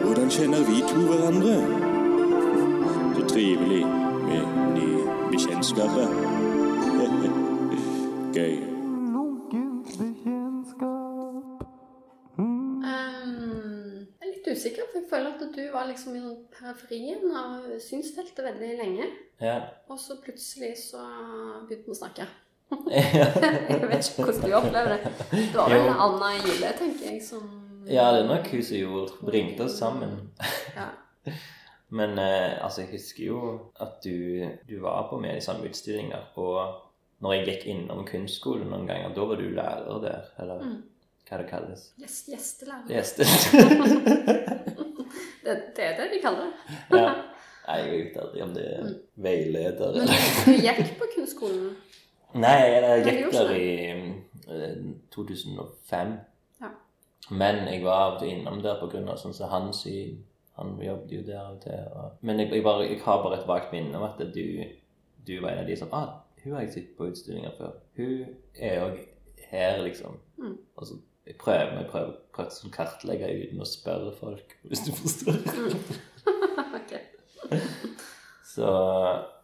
D: Hvordan kjenner vi to hverandre? Så trivelig med nye bekjentskaper. Gøy.
B: Ehm, jeg er litt usikker, for jeg føler at du var liksom i sånn periferien av synsfeltet veldig lenge.
A: Ja.
B: Og så plutselig så begynte vi å snakke. Jeg
A: ja,
B: vet ikke hvordan du opplever det. Det var vel
A: Jo.
B: Anna Gille, tenker jeg, som
A: det er nok hun som gjorde Ringte oss sammen.
B: Ja.
A: Men eh, altså, jeg husker jo at du, du var på med i samme utstillinger. Og når jeg gikk innom kunstskolen noen ganger, da var du lærer der. Eller
B: Mm.
A: hva det kalles.
B: Gjest- Gjestelærer.
A: Gjester.
B: Det, det er det de kaller det.
A: ja. Nei, jeg vet aldri om det er veileder eller
B: Mm. Men
A: Nei, jeg
B: du gikk på kunstskolen. Men du
A: gikk
B: gjorde
A: der i eh, 2005.
B: Ja.
A: Men jeg var av og til innom der på grunn av sånn som han sier Han jobbet jo der av og til. Og... Men jeg, jeg, bare, jeg har bare et vagt minne om at du, du var en av de som ah, Hun har jeg sett på utstillinger før. Hun er òg her, liksom.
B: Mm.
A: Og så jeg prøver jeg prøver, prøver å sånn kartlegge uten å spørre folk, hvis du forstår.
B: Ok.
A: Så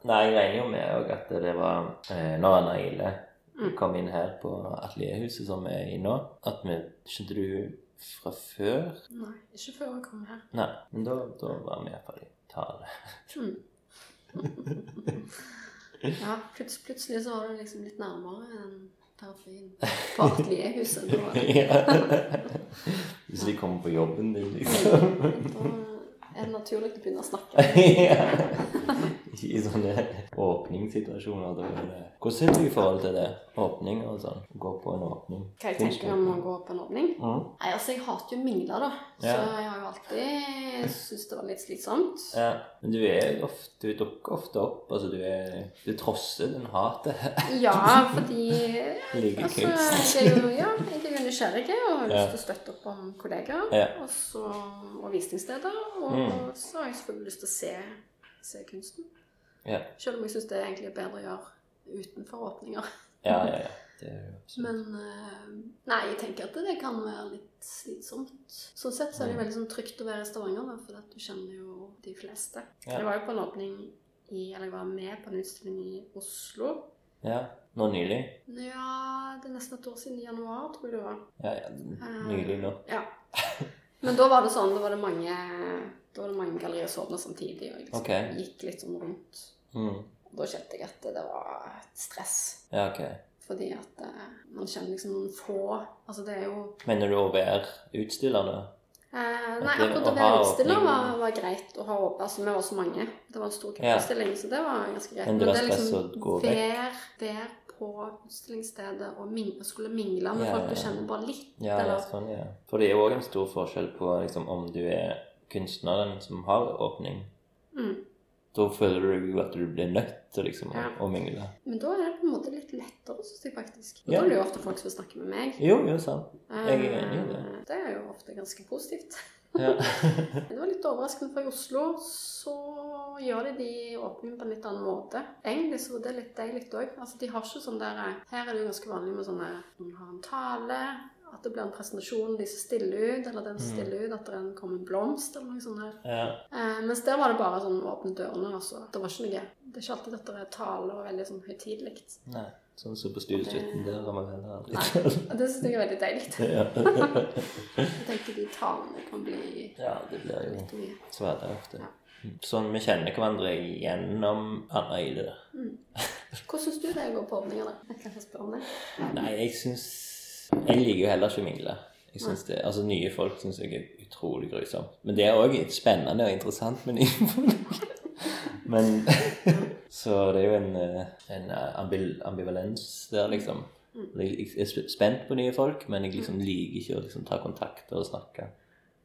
A: Nei, jeg regner jo med også at det var eh, når Anna Ile
B: Mm.
A: kom inn her på atelierhuset som vi er i nå, at vi Skjønte du fra før?
B: Nei, ikke før jeg kom her.
A: Nei, men da, da var vi iallfall i tale.
B: Mm. Ja, plut- plutselig så var du liksom litt nærmere enn terapien på atelierhuset. Da, var det-
A: Ja. Hvis de kommer på jobben din, liksom.
B: Mm. da er det naturlig å begynne å snakke.
A: ja. I sånne åpningssituasjoner. Da er det. Hvordan ser du i forhold til det? Åpning og sånn? Gå på en åpning.
B: Hva jeg tenker om å gå på en åpning?
A: Mm.
B: Nei, altså Jeg hater jo å mingle, da. Så
A: Ja.
B: jeg har jo alltid syntes det var litt slitsomt.
A: Ja, men du er ofte, du dukker ofte opp. Altså, du er Du trosser den hatet.
B: Ja, fordi
A: Like
B: Altså,
A: kunst.
B: jeg er jo, ja, jeg er jo nysgjerrig og har
A: Ja.
B: lyst til å støtte opp om kollegaer
A: Ja.
B: og, så, og visningssteder. Og,
A: Mm.
B: så har jeg selvfølgelig lyst til å se, se kunsten.
A: Ja.
B: Selv om jeg syns det er egentlig bedre å gjøre utenfor åpninger.
A: Ja, ja, ja. Det er jo absolutt.
B: Men eh, nei, jeg tenker at det kan være litt slitsomt. Sånn sett så
A: Mm.
B: er det jo veldig sånn, trygt å være i Stavanger, da, for at du kjenner jo de fleste.
A: Ja.
B: Jeg var jo på en åpning i, eller jeg var med på en utstilling i Oslo.
A: Ja. Nå nylig?
B: Ja, det er nesten et år siden i januar, tror jeg det var.
A: Ja, ja.
B: Eh,
A: Nylig nå.
B: Ja. Men da var det sånn, da var det mange, da var det mange gallerier som åpna samtidig, og jeg liksom
A: Ok.
B: gikk litt sånn rundt.
A: Mm.
B: Og da kjente jeg at det var et stress.
A: Ja, ok.
B: Fordi at eh, man kjenner liksom noen få Altså det er jo
A: Mener du å være utstiller nå?
B: eh, Nei,
A: At det-
B: akkurat å
A: å
B: være
A: ha
B: utstiller
A: åpning-
B: var, var greit å ha åpent. Altså vi var så mange. Det var en stor gruppeutstilling, så det var ganske greit.
A: Men det var
B: er liksom
A: stress å gå vekk.
B: vær, vær på utstillingsstedet og ming- skulle mingle med
A: Ja,
B: folk du
A: ja.
B: kjenner bare litt.
A: Ja, ja,
B: eller
A: sånn, ja. For det er jo òg en stor forskjell på liksom, om du er kunstneren som har åpning.
B: Mm.
A: Da føler du jo at du blir nødt til liksom, å,
B: Ja.
A: å mingle.
B: Men da er det på en måte litt lettere, syns jeg faktisk. Og
A: Ja.
B: Da er det jo ofte folk som vil snakke med meg.
A: Jo, jo, sant. Jeg er
B: Eh,
A: enig i det.
B: Det er jo ofte ganske positivt.
A: Ja.
B: Men Det var litt overraskende, for i Oslo så gjør de de åpningene på en litt annen måte. Egentlig så det er litt deilig òg. Altså, de har ikke sånn der Her er det jo ganske vanlig med sånn sånne Noen har en tale. At det blir en presentasjon, de som stiller ut, eller den
A: Mm.
B: som stiller ut, at det en- kommer en blomst, eller noe sånt. der.
A: ja.
B: Eh, mens der var det bare sånn åpne dørene, altså. Det var ikke noe Det er ikke alltid at det er tale og veldig sånn høytidelig.
A: Nei. Sånn som på studiesuiten der har man heller aldri
B: Og det syns jeg er veldig deilig.
A: Ja.
B: Jeg tenker de talene kan bli
A: ja, det blir jo
B: litt mye.
A: Sverre ofte.
B: Ja.
A: Sånn vi kjenner hverandre gjennom Anna Ile.
B: Hvordan syns du det er å gå på åpninger, da? Jeg kan få spørre om det.
A: Nei, jeg syns Jeg liker jo heller ikke å mingle. Jeg synes det, altså Nye folk syns jeg er utrolig grusomt. Men det er òg spennende og interessant med nye folk. Men Så det er jo en, eh, en ambil, ambivalens der, liksom.
B: Mm.
A: Jeg er sp- spent på nye folk, men jeg liksom liker ikke å liksom, ta kontakt og snakke.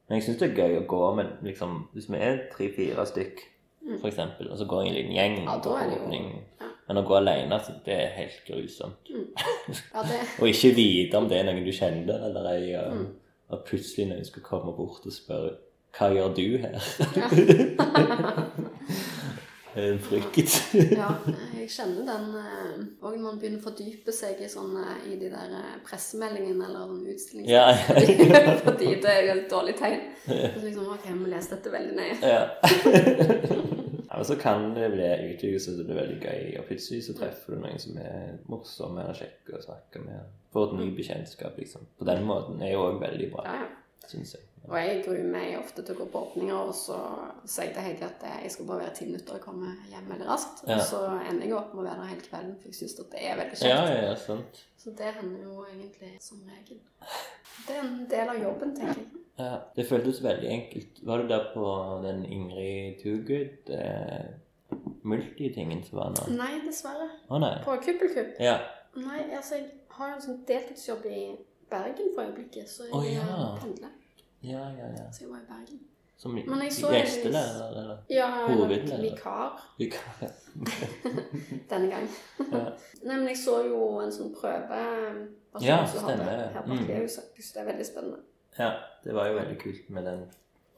A: Men jeg syns det er gøy å gå med liksom, Hvis vi er tre-fire stykk, for eksempel, og så går jeg i en liten gjeng
B: Mm. Ja, da er det jo-
A: åpning.
B: ja.
A: Men å gå alene, så det er helt grusomt.
B: Ja, det,
A: Og ikke vite om det er noen du kjente, eller ei, og- at plutselig noen skulle komme bort og spørre Hva gjør du her? Det er en frykt.
B: ja, jeg kjenner den eh, Og når man begynner å fordype seg i, sånne, i de der eh, pressemeldingene eller sånn utstillinger
A: Ja,
B: Fordi det er jo et dårlig tegn. Så liksom, ok, jeg må lese dette veldig nøye.
A: ja. ja men så kan det bli utvidet så det blir veldig gøy, og plutselig så treffer du noen som er morsomme eller kjekke å snakke med. Får et ny bekjentskap, liksom. På den måten er jo òg veldig bra,
B: Ja, ja.
A: syns jeg.
B: Og jeg gruer meg ofte til å gå på åpninger, og så sier jeg til Heidi at eh, jeg skal bare være ti minutter og komme hjem veldig raskt.
A: Ja.
B: Og så ender jeg opp med å være der hele kvelden, for jeg syns at det er veldig kjekt.
A: Ja, ja, ja, sant.
B: Så det hender jo egentlig som regel. Det er en del av jobben, tenker jeg.
A: Ja, det føltes veldig enkelt. Var du der på den Ingrid Toogood eh, multitingen som var nå?
B: Nei, dessverre.
A: Å nei.
B: På Kuppelkupp?
A: Ja.
B: Nei, altså jeg har en sånn deltidsjobb i Bergen for øyeblikket, så jeg
A: Å,
B: eh,
A: ja.
B: pendler.
A: Ja, ja, ja.
B: Så jeg var i Bergen.
A: Som
B: Men jeg så
A: gjestene,
B: en-
A: eller? eller?
B: Ja, jeg har vært
A: Hovedleder.
B: vikar
A: Vi kan-
B: denne gang.
A: Ja.
B: Nei, men jeg så jo en sånn prøve hva
A: Ja,
B: som hadde
A: stemmer.
B: Her på
A: Mm.
B: Arkivhuset. Jeg synes det er veldig spennende.
A: Ja, det var jo veldig kult med den.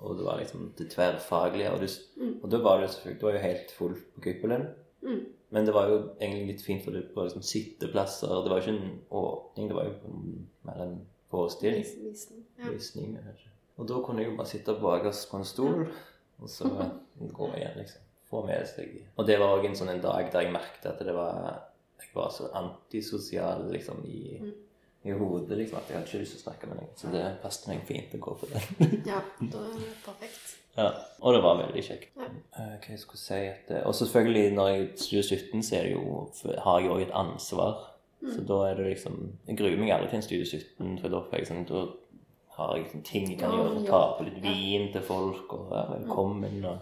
A: Og det var liksom det tverrfaglige. Og, du,
B: Mm.
A: og da var det jo selvfølgelig Det var jo helt fullt på kuppelen.
B: Mm.
A: Men det var jo egentlig litt fint, for det var liksom sitteplasser. Det var jo ikke en åpning, det var jo en- mer en forestilling.
B: Vis- visning. Ja.
A: Visning, kanskje. Og da kunne jeg jo bare sitte bakerst på en stol, og så gå igjen, liksom. Få med seg Og det var òg en sånn en dag der jeg merket at det var Jeg var så antisosial, liksom, i, i hodet, liksom, at jeg hadde ikke lyst til å snakke med noen. Så det passet meg fint å gå på den.
B: ja, da er det perfekt.
A: Ja, og det var veldig kjekt.
B: Ja.
A: Eh, Hva jeg skulle si at eh, Og selvfølgelig, når jeg studerer 17, så er det jo, f- har jeg jo også et ansvar.
B: Mm.
A: Så da er det liksom Jeg gruer meg aldri til en studie 17, for da får jeg sånn Da har jeg sånn ting jeg kan
B: Ja,
A: gjøre.
B: ja.
A: Ta på litt vin til folk, og være velkommen og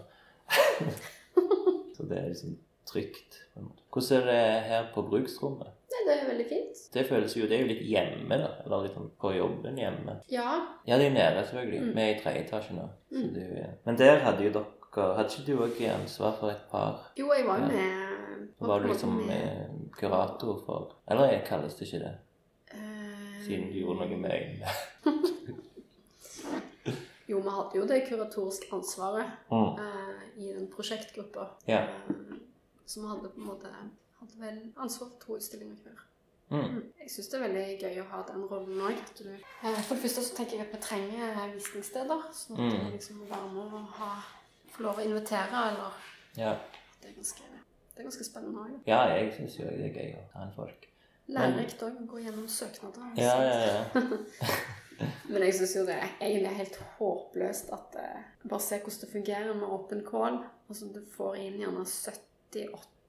A: Så det er liksom trygt. på en måte. Hvordan er det her på bruksrommet?
B: Nei, det er veldig fint.
A: Det føles jo Det er jo litt hjemme, da. Eller litt sånn på jobben hjemme.
B: Ja.
A: Ja, det er nede, selvfølgelig.
B: Mm.
A: Vi er i tredje etasje nå. Så
B: Mm.
A: det er jo, men der hadde jo dere Hadde ikke du òg ansvar for et par?
B: Jo, jeg var jo
A: Ja.
B: med
A: Var du liksom
B: med-
A: eh, kurator for Eller kalles det ikke det?
B: Eh,
A: Siden du gjorde noe med egne
B: Jo, vi hadde jo det kuratoriske ansvaret
A: mm.
B: eh, i den prosjektgruppa.
A: Ja.
B: Eh, så vi hadde på en måte hadde vel ansvar for to utstillinger hver.
A: Mm.
B: Jeg syns det er veldig gøy å ha den rollen òg. Eh, for det første så tenker jeg at vi trenger visningssteder. Sånn at
A: Mm.
B: vi liksom må være med og ha, få lov å invitere, eller
A: Ja.
B: Det er ganske, det er ganske spennende òg.
A: ja, jeg syns jo det er gøy å ha en folk.
B: Lærerikt òg å gå gjennom søknader. og
A: Ja,
B: se.
A: ja, ja.
B: Men jeg syns jo det er egentlig helt håpløst at eh, Bare se hvordan det fungerer med åpen kål. Altså, du får inn gjerne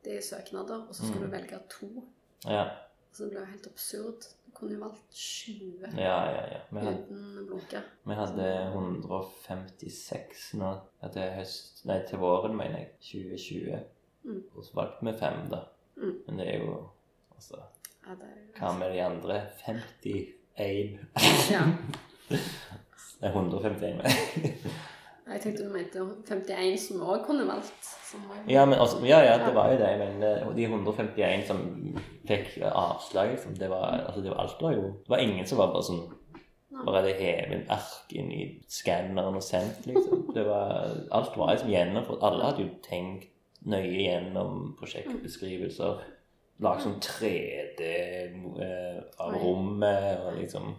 B: 70-80 søknader, og så skal
A: Mm.
B: du velge to.
A: Ja,
B: Altså, det blir jo helt absurd. Du kunne jo valgt 20
A: ja, ja. ja. Vi, hadde,
B: uten blunker.
A: vi hadde 156 nå ja, til høst Nei, til våren, mener jeg. 2020.
B: Mm.
A: Og så valgte vi fem, da.
B: Mm.
A: Men det er jo altså
B: Ja, det er jo
A: Hva med de andre? 51
B: Ja.
A: Det er 151 med.
B: Jeg tenkte du mente 51 som vi òg kunne valgt. Som var-
A: ja, men altså, ja, ja, det var jo det. Men eh, de 151 som fikk avslag, liksom, det var, altså, det var alt var jo Det var ingen som var bare sånn bare hadde hevet en ark inn i skanneren og sendt, liksom. Det var, alt var liksom gjennomført. Alle hadde jo tenkt nøye gjennom prosjektbeskrivelser. Lagd sånn 3D eh, av
B: Oi.
A: rommet og liksom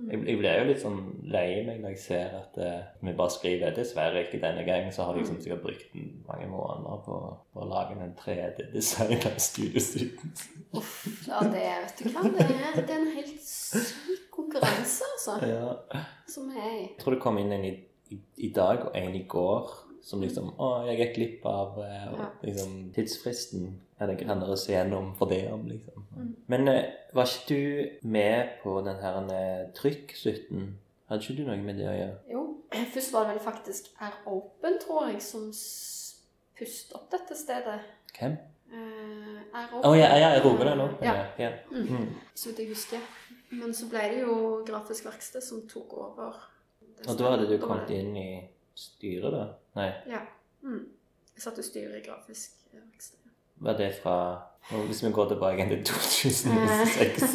B: Mm.
A: Jeg, jeg blir jo litt sånn lei meg når jeg ser at eh, vi bare skriver 'dessverre ikke denne gangen', så har de liksom sikkert brukt mange måneder på, på å lage en 3D-design av studiestudien.
B: Ja, det er, vet du hva, det er, det er en helt syk konkurranse, altså,
A: Ja.
B: som er i.
A: Jeg tror det kom inn en i, i, i dag og en i går som liksom Å, jeg gikk glipp av eh, og
B: Ja.
A: liksom, tidsfristen. Er det grannere å se gjennom for det om, liksom?
B: Mm.
A: Men eh, var ikke du med på den her eh, trykk-slutten? Hadde ikke du noe med det å gjøre?
B: Jo. Først var det vel faktisk Air Open, tror jeg, som s- pustet opp dette stedet.
A: Hvem?
B: Eh, er
A: Å ja, ja, jeg roper deg nå.
B: Ja,
A: ja.
B: Mm.
A: Mm.
B: så vidt jeg husker. Men så ble det jo Grafisk Verksted som tok over. det
A: Og
B: som-
A: da hadde du
B: var
A: kommet
B: det-
A: inn i styret, da? Nei,
B: Ja. Mm. Jeg satt og styret i Grafisk eh, Verksted.
A: var det fra og Hvis vi går tilbake til 2006,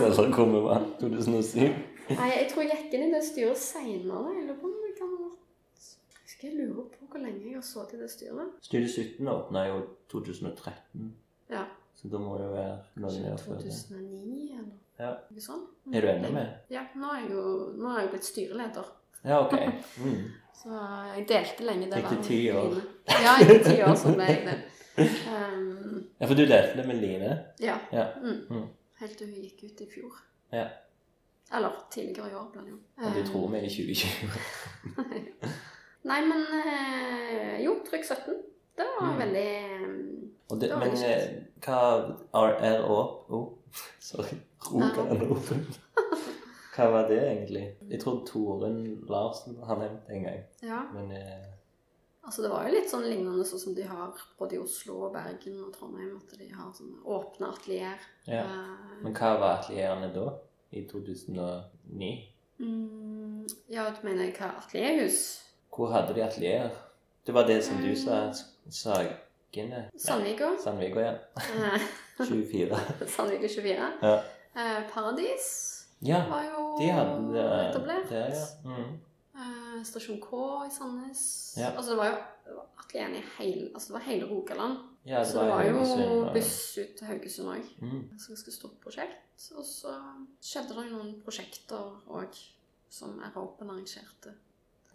A: eller hvor vi var? 2007?
B: Nei, jeg tror jeg gikk inn i det styret seinere. Jeg lurer på om det kan ha vært Jeg skal lure på hvor lenge jeg har sittet i det styret.
A: Studio 17 åpna jo 2013,
B: Ja,
A: så da må det jo være noen
B: kanskje
A: år før det.
B: 2009 eller
A: Ja.
B: noe sånt. Mm.
A: Er du enig med?
B: Ja, nå er jeg jo, nå er jeg jo blitt styreleder.
A: Ja, ok. Mm.
B: Så jeg delte lenge det
A: Gikk det
B: vervet
A: ti
B: med
A: år?
B: Line. Ja, etter ti år så ble jeg det. Ehm,
A: Ja, for du delte det med Line?
B: ja.
A: Ja.
B: Mm.
A: Mm.
B: Helt til hun gikk ut i fjor.
A: Ja.
B: Eller tidligere i år, ble det jo.
A: Og du
B: Ehm,
A: tror vi er i 2020?
B: Nei, men eh, jo, trykk 17. Det var
A: Mm.
B: veldig ehm,
A: Og det,
B: Da er
A: men
B: det
A: eh, hva RRO oh, Sorry. Rogaland Open. Hva var det egentlig? Jeg tror Toren Larsen har nevnt det en gang.
B: Ja.
A: Men eh,
B: Altså Det var jo litt sånn lignende sånn som de har både i Oslo, og Bergen og Trondheim. At de har sånne åpne atelier.
A: ja.
B: Eh,
A: Men hva var atelierene da? I 2009?
B: mm, ja, du mener hva atelierhus?
A: Hvor hadde de atelier? Det var det som du sa. Sagene? Nei,
B: Sandvika.
A: Sandvika, ja.
B: Eh,
A: 24.
B: Sandvika 24.
A: Ja.
B: Eh, Paradis
A: Ja,
B: var jo
A: de hadde det
B: etablert.
A: der, ja. Mm.
B: eh, Stasjon K i Sandnes.
A: Ja.
B: Altså det var jo det var atelier i hele, altså det var hele Rogaland.
A: ja
B: Så det var jo
A: Haugesund og-
B: buss ut til Haugesund òg.
A: Mm.
B: et ganske stort prosjekt. Og så skjedde det noen prosjekter òg som R-Open arrangerte.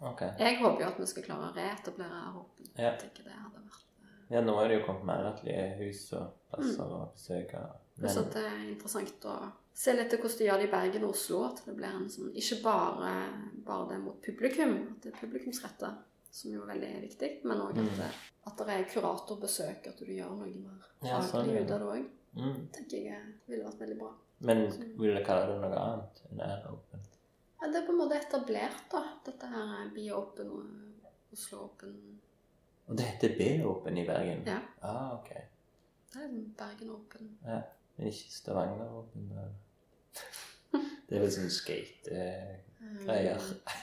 A: Ok.
B: Jeg håper jo at vi skal klare å reetablere R-Open.
A: Ja.
B: Jeg tenker det hadde vært
A: Ja, nå er det jo kommet mer atelierhus og plasser å besøke.
B: Pluss at det Mm. er interessant å se litt til hvordan de gjør det i Bergen og Oslo. At det blir en sånn Ikke bare, bare det mot publikum, at det er publikumsretta, som jo er veldig viktig, men òg at,
A: Mm.
B: det- at det er kuratorbesøk, at du gjør noe mer
A: Ja, sånn,
B: faglig
A: ja.
B: ut av det òg,
A: Mm.
B: tenker jeg eh, ville vært veldig bra.
A: Men vil du kalle det noe annet enn Air Open?
B: Ja, det er på en måte etablert, da. Dette her er Be Open og eh, Oslo Open.
A: Og det heter B-Open i Bergen?
B: Ja.
A: Ah, ok.
B: Det er liksom Bergen Open.
A: Men ikke Stavanger Open? Da. Det er vel sånn eh, skate-greier.
B: Um,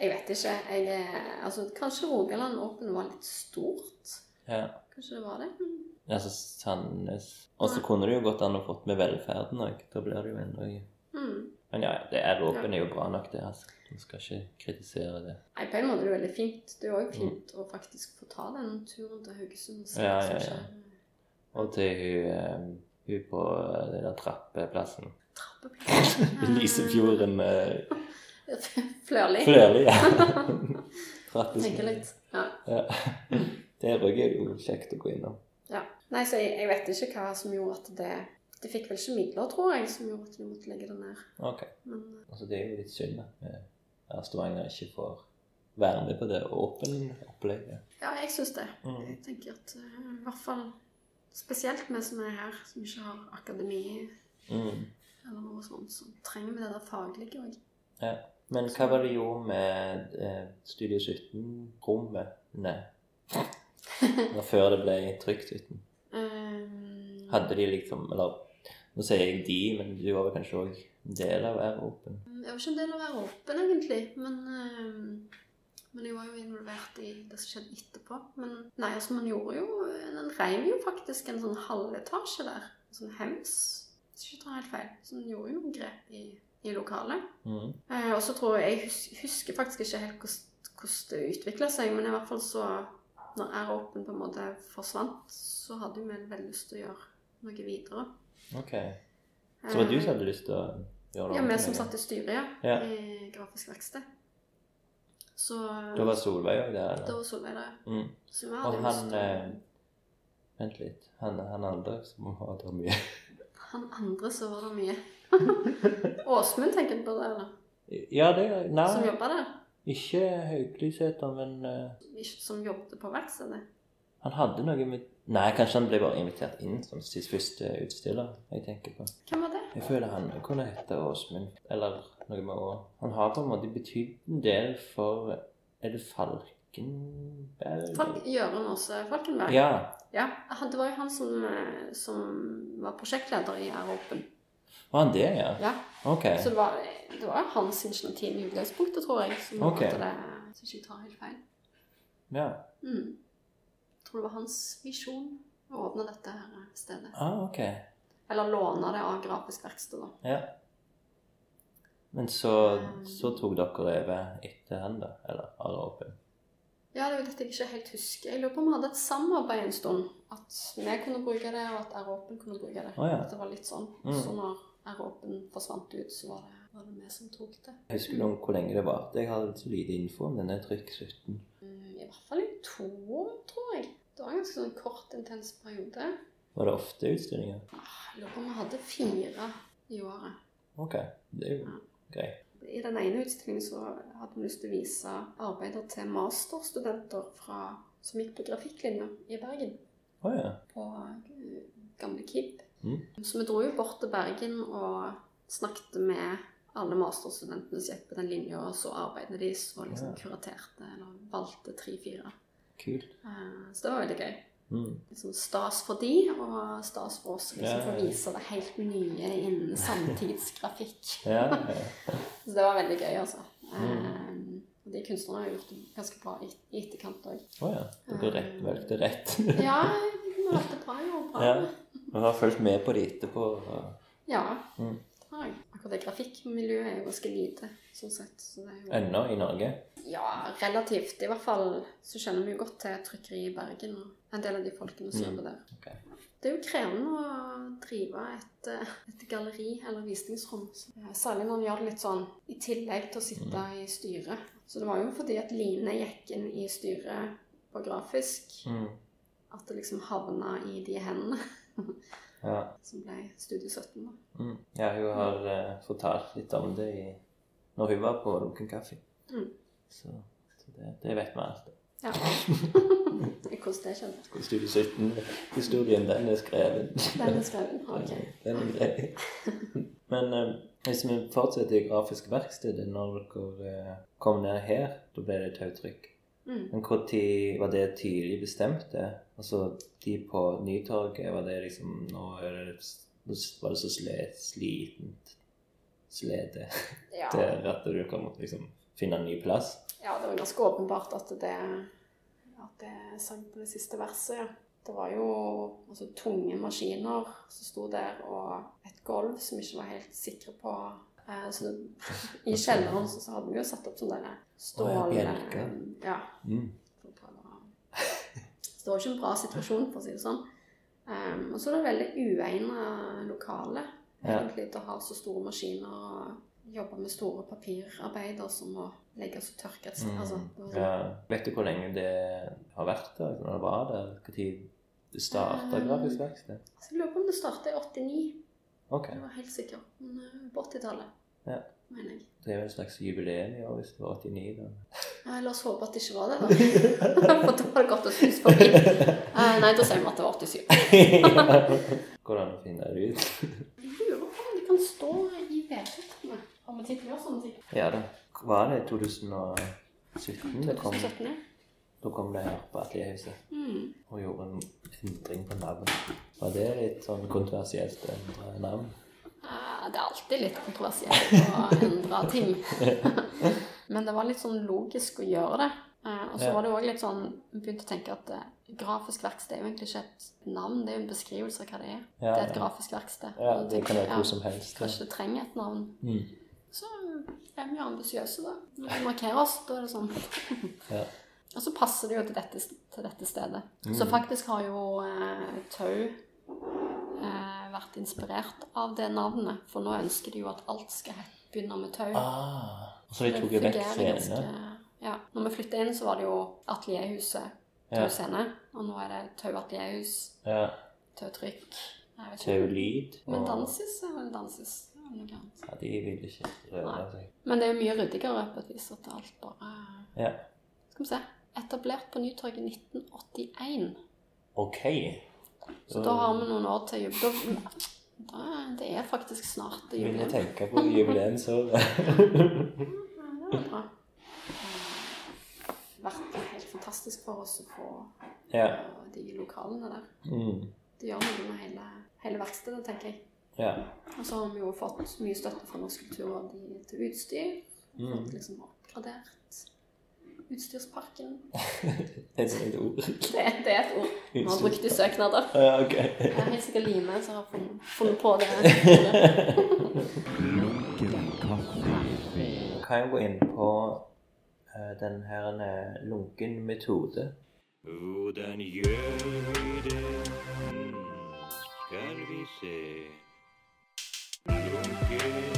B: Jeg vet ikke. Jeg, er- altså, kanskje Rogaland Open var litt stort?
A: Ja.
B: Kanskje det var det? Mm.
A: Altså Sandnes Og så kunne det jo gått an å fått med velferden òg. Da blir det jo ennå
B: Mm.
A: Men ja, det Air Open er jo bra nok, det. altså. Du skal ikke kritisere det.
B: Nei, på en måte er det veldig fint. Det er jo òg fint å faktisk få ta den turen til Haugesund. og se
A: Mm. Ja,
B: hva
A: ja,
B: som
A: ja.
B: skjer.
A: Og til hun, eh, hun på den der trappeplassen.
B: Trappeplassen.
A: Lysefjorden eh,
B: Flørli.
A: Flørli, ja. Trappesmil.
B: Tenke litt. Ja.
A: Ja. Der òg er det jo kjekt å gå innom.
B: Ja. Nei, så jeg, jeg vet ikke hva som gjorde at det De fikk vel ikke midler, tror jeg, som gjorde at de måtte legge det ned.
A: Ok.
B: Men
A: Altså, det er jo litt synd at vi her Stavanger ikke får være med på det åpne opplegget.
B: ja, jeg syns det.
A: Mm.
B: Jeg tenker at eh, i hvert fall spesielt vi som er her, som ikke har akademi
A: Mm.
B: eller noe sånt, så trenger vi det der faglige òg.
A: Men hva var det jo med eh, Studio 17-rommet? Nei. Eller Før det ble trygt 17.
B: Um,
A: Hadde de liksom Eller nå sier jeg de, men du var vel kanskje òg en del av Air Open?
B: Jeg var ikke en del av å være åpen, egentlig. Men, ehm, men jeg var jo involvert i det som skjedde etterpå. Men nei, altså, man gjorde jo Den reiv jo faktisk en sånn halvetasje der. En sånn hems. Hvis jeg ikke tar helt feil. Så den gjorde jo noen grep i, i lokalet.
A: Mm.
B: Eh, og så tror jeg Jeg hus- husker faktisk ikke helt hvordan hvordan det utvikla seg, men i hvert fall så Når Air Open på en måte forsvant, så hadde jo vi veldig lyst til å gjøre noe videre.
A: Ok. Så var det du
B: Eh,
A: som hadde lyst til å gjøre
B: ja,
A: om
B: vi
A: til
B: som
A: noe?
B: satt i styret, ja.
A: Ja.
B: I Grafisk Verksted. Så
A: Da var Solveig òg der?
B: da
A: Eller?
B: var Solveig der.
A: Mm.
B: Så vi hadde
A: Og
B: jo
A: han
B: stå-
A: eh, Vent litt. Han, han andre som har tatt mye
B: Han andre så var det mye. Åsmund tenker du på det, eller?
A: Ja, det Nei,
B: Som jobba der.
A: ikke Hauglisæter, men eh,
B: Ikke- Som jobbet på verkstedet.
A: han hadde noe med Nei, kanskje han ble bare invitert inn som sitt første utstiller. jeg tenker på.
B: Hvem var det?
A: Jeg føler han kunne hete Åsmund, eller noe med Å. Han har på en måte betydd en del for Er det Falkenberg?
B: Falk, Jørund Åse Falkenberg?
A: Ja.
B: Ja, han- Det var jo han som, eh, som var prosjektleder i Air Open.
A: Var han det, ja?
B: Ja.
A: Ok.
B: Så det var, det var hans initiativ i utgangspunktet, tror jeg. Som
A: Ok.
B: gjorde at det, så ikke jeg tar helt feil.
A: Ja.
B: Mm. Jeg tror det var hans visjon å åpne dette her stedet.
A: Ah, ok.
B: Eller låne det av grafisk verksted, da.
A: Ja. Men så, så tok dere over etter han, da? Eller Are Open?
B: Ja, det er jo dette jeg ikke helt husker. Jeg lurer på om vi hadde et samarbeid en stund. At vi kunne bruke det, og at Aeropen kunne bruke det.
A: Å, ja.
B: At det var litt sånn.
A: Mm.
B: Så når Aeropen forsvant ut, så var det, var det vi som tok det.
A: Husker du om hvor lenge det varte? Jeg har så lite info om denne Trykk 17.
B: Mm, I hvert fall i to år, tror jeg. Det var en ganske sånn kort, intens periode. Ah,
A: Var det ofte utstillinger?
B: Jeg lurer på om vi hadde fire i året.
A: Ok, det er jo greit.
B: I den ene utstillingen så hadde vi lyst til å vise arbeider til masterstudenter fra, som gikk på grafikklinja i Bergen.
A: Å ja.
B: på eh, gamle KIB.
A: Mm.
B: Så vi dro jo bort til Bergen og snakket med alle masterstudentene som gikk på den linja, og så arbeidet de og liksom
A: Ja.
B: kuraterte eller valgte tre-fire.
A: Kult.
B: Eh, Så det var veldig gøy.
A: Mm.
B: Liksom stas for de, og stas for oss å
A: Ja,
B: liksom,
A: ja,
B: få
A: ja.
B: vise det helt nye innen samtidsgrafikk.
A: Ja, ja.
B: Så det var veldig gøy, altså.
A: Mm.
B: Eh, og De kunstnerne har gjort det ganske bra i i etterkant òg.
A: Å ja. Dere rett, valgte rett.
B: Ja, vi valgte bra i år. Bra.
A: Ja. Vi har fulgt med på det etterpå. og
B: Ja.
A: Mm.
B: det har jeg. Akkurat det grafikkmiljøet er jo ganske lite, sånn sett. Så det er jo,
A: Ennå i Norge.
B: ja, relativt. I hvert fall så kjenner vi jo godt til trykkeriet i Bergen og en del av de folkene som
A: Mm.
B: jobber der.
A: Ok.
B: Det er jo krevende å drive et, eh, et galleri eller visningsrom. Så, eh, Særlig når en gjør det litt sånn i tillegg til å sitte
A: Mm.
B: i styret. Så det var jo fordi at Line gikk inn i styret på grafisk,
A: Mm.
B: at det liksom havna i de hendene
A: Ja.
B: som ble Studio 17. da.
A: Mm. ja, hun har eh, fortalt litt om det i, når hun var på Lunken kaffe.
B: Mm.
A: Så, så det, det vet vi alt.
B: Ja. Hvordan det kjennes.
A: Studie 17, historien den er skrevet.
B: Den er skreven. Ok.
A: Den er grei. Men eh, hvis vi fortsetter i grafisk verksted når dere eh, kom ned her, da ble det tautrykk.
B: Mm.
A: Men hvor tid var det tidlig bestemt? det? Altså de på Nytorget, var det liksom Nå er det, nå var det så sle, slitent slede
B: Ja.
A: der at du kan måtte liksom finne en ny plass?
B: ja, det var ganske åpenbart at det, at det sank på det siste verset. ja. Det var jo altså, tunge maskiner som sto der, og et gulv som vi ikke var helt sikre på. Eh, så det, I kjelleren så, så hadde vi jo satt opp sånne der stål...
A: Å, ja, bjelker.
B: Ja.
A: Mm.
B: for å prøve å- Så det var ikke en bra situasjon, for å si det sånn. Ehm, og så er det veldig uegna lokale
A: Ja.
B: egentlig til å ha så store maskiner og jobbe med store papirarbeider som må legges og tørkes.
A: Mm.
B: Altså, det var sånn-
A: ja. Vet du hvor lenge det har vært der? Når det var der? Når det starta
B: Eh.
A: grafisk verksted?
B: Så jeg lurer på om det starta i 89.
A: Ok.
B: Jeg var helt sikker. Men eh, på 80-tallet,
A: Ja.
B: mener jeg.
A: Det er jo en slags jubileum i år hvis det var 89, da.
B: Nei, la oss håpe at det ikke var det, da. for da har det gått et hus forbi. Eh, nei, da sier vi at det var 87.
A: Hvordan finner du ut?
B: Jeg lurer på om det kan stå i vedtektene. Om vi tipper sånne ting.
A: Ja da. Var det 2017 det kom?
B: 2017, ja.
A: Da kom det her på Atelierhuset
B: Mm.
A: og gjorde en endring på navnet. Var det litt sånn kontroversielt å endre navn?
B: Eh, Det er alltid litt kontroversielt å endre ting. Men det var litt sånn logisk å gjøre det. Eh, Og så
A: Ja.
B: var det òg litt sånn Jeg begynte å tenke at eh, grafisk verksted er jo egentlig ikke et navn, det er jo en beskrivelse av hva det er.
A: Ja,
B: det er et
A: ja.
B: grafisk verksted.
A: Ja,
B: Og jeg
A: det
B: tenkte,
A: kan være
B: ja,
A: hvor som helst.
B: Kanskje det trenger et navn.
A: Mm.
B: Så er vi jo ambisiøse, da. Når vi markerer oss, da er det sånn.
A: Ja.
B: Og så passer det jo til dette, til dette stedet. Så
A: Mm.
B: faktisk har jo eh, Tau eh, vært inspirert av det navnet. For nå ønsker de jo at alt skal he- begynne med Tau.
A: Ah, og så de tok jo vekk
B: fungerer
A: scene.
B: ja. Når vi flytta inn, så var det jo Atelierhuset Tau
A: Ja.
B: Scene. Og nå er det Tau Atelierhus,
A: ja.
B: Tau Trykk. Jeg vet ikke.
A: Teolyd.
B: Men
A: og-
B: Dansis er vel Dansis. eller noe annet.
A: Ja, de ville ikke røre seg.
B: Men det er jo mye ryddigere på et vis at alt bare
A: Ja.
B: Skal vi se. Etablert på Nytorget i 1981.
A: OK.
B: Så da har vi noen år til jubileum. Da, det er faktisk snart det
A: Begynner å
B: jubileum.
A: tenke på jubileumsåret.
B: Ja, det var bra. Det har vært helt fantastisk for oss å få
A: Ja.
B: og de lokalene der.
A: Mm.
B: Det gjør noe med hele, hele verkstedet, tenker jeg.
A: Ja.
B: Og så har vi jo fått mye støtte fra Norsk Kulturråd i- til utstyr.
A: Mm.
B: Fått liksom oppgradert utstyrsparken.
A: Det er et eget ord.
B: Det, det er et ord vi har brukt i søknader.
A: Ja, ok.
B: Det er helt sikkert Line som har funnet, funnet på det.
C: Lunken kaffe.
A: Kan jeg gå inn på eh, den her eh, lunken metode?
D: Hvordan gjør vi det? Hmm, Skal vi se Lunken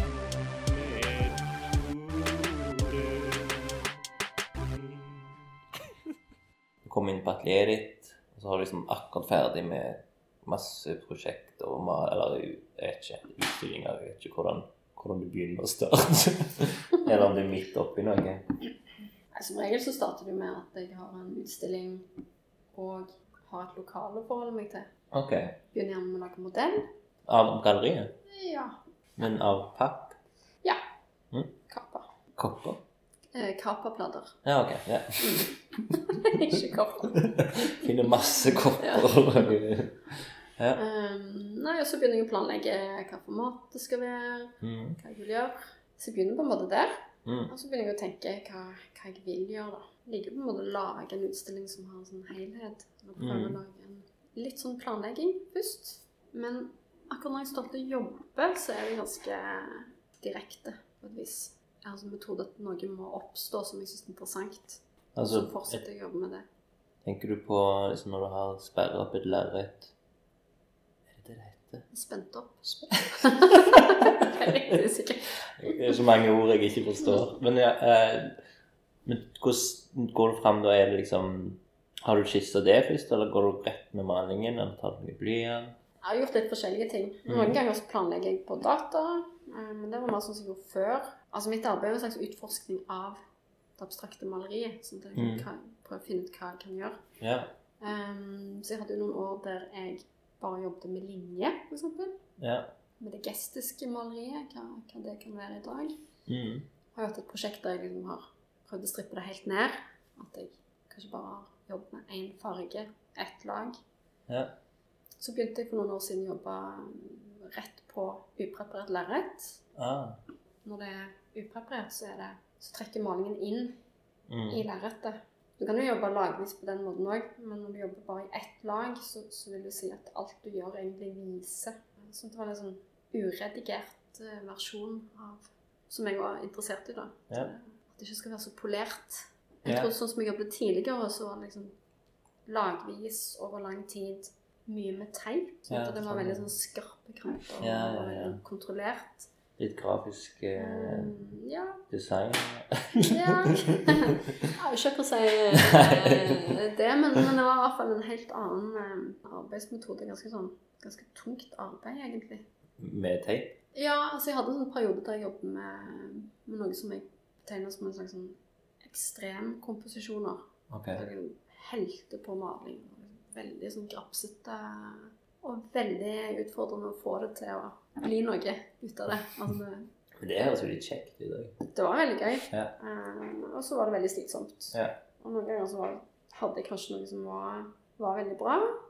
A: Du kommer inn på atelieret ditt, og så har du liksom akkurat ferdig med masse prosjekter og mal, eller jeg vet ikke, utstillinger, jeg vet ikke hvordan, hvordan du begynner å starte. eller om du er midt oppi noe.
B: Nei, Som regel så starter du med at jeg har en utstilling og har et lokale å forholde meg til.
A: Ok.
B: Begynner gjerne med å lage modell.
A: Av galleriet,
B: Ja.
A: men av papp?
B: Kappa.
A: Kopper?
B: Eh, Kappaplater.
A: Ja, ok. Ja.
B: Ikke kopper.
A: Finner masse kopper. ja.
B: Ehm, nei, og så begynner jeg å planlegge hva format det skal være,
A: Mm.
B: hva jeg vil gjøre. Så jeg begynner på en måte der,
A: Mm.
B: og så begynner jeg å tenke hva, hva jeg vil gjøre, da. Jeg liker på en måte å lage en utstilling som har en sånn helhet. Og prøve
A: Mm.
B: å lage en litt sånn planlegging først. Men akkurat når jeg står til å jobbe, så er det ganske direkte på et vis. Jeg har en sånn metode at noe må oppstå som jeg syns er interessant.
A: Altså,
B: så fortsetter jeg å jobbe med det.
A: tenker du på liksom, når du har sperret opp et lerret Er det det det heter?
B: Spent opp.
A: Sp-
B: Jeg er litt usikker.
A: Det er så mange ord jeg ikke forstår. Men, ja, eh, men hvordan går du fram da? Er det liksom Har du skissa det først, eller går du rett med malingen? Eller tar du med blyant?
B: Jeg har gjort litt forskjellige ting. Noen
A: Mm.
B: ganger så planlegger jeg på data, eh, men det var mer sånn som jeg gjorde før. Altså Mitt arbeid er jo en slags utforskning av det abstrakte maleriet. Sånn at jeg
A: Mm.
B: kan prøve å finne ut hva jeg kan gjøre.
A: Ja.
B: Ehm, så jeg hadde jo noen år der jeg bare jobbet med linje, f.eks.
A: ja.
B: Med det gestiske maleriet, hva, hva det kan være i dag.
A: Mm.
B: Jeg har hatt et prosjekt der jeg liksom har prøvd å strippe det helt ned. At jeg kanskje bare har jobbet med én farge, ett lag.
A: Ja.
B: Så begynte jeg for noen år siden å jobbe mm, rett på upreparert lerret.
A: Ah.
B: Når det er upreparert, så, er det, så trekker malingen inn i
A: Mm.
B: lerretet. Du kan jo jobbe lagvis på den måten òg, men når du jobber bare i ett lag, så, så vil du si at alt du gjør, egentlig viser. Så det var en sånn uredigert eh, versjon av Som jeg var interessert i, da.
A: Ja.
B: At det ikke skal være så polert. Jeg
A: Ja.
B: tror Sånn som jeg jobbet tidligere, så var det liksom lagvis over lang tid mye med teip. Så
A: Ja,
B: det var
A: sånn.
B: veldig sånn skarpe kanter og
A: Ja, ja, ja.
B: veldig kontrollert.
A: Litt grafisk eh,
B: Mm, ja,
A: design.
B: ja. Jeg har jo ikke akkurat si eh, det, men, men det var i hvert fall en helt annen eh, arbeidsmetode. Ganske sånn ganske tungt arbeid, egentlig.
A: Med teip.
B: Ja, altså jeg hadde en sånn periode der jeg jobbet med, med noe som jeg betegner som en slags sånn ekstremkomposisjoner.
A: Ok.
B: Der jeg liksom helte på maling. Veldig sånn grapsete. Og veldig utfordrende å få det til å bli noe ut av det. Altså, det
A: Men det høres jo litt kjekt ut i dag.
B: det var veldig gøy.
A: Ja.
B: Eh, og så var det veldig slitsomt.
A: Ja.
B: Og noen ganger så var- hadde jeg kanskje noe som var, var veldig bra,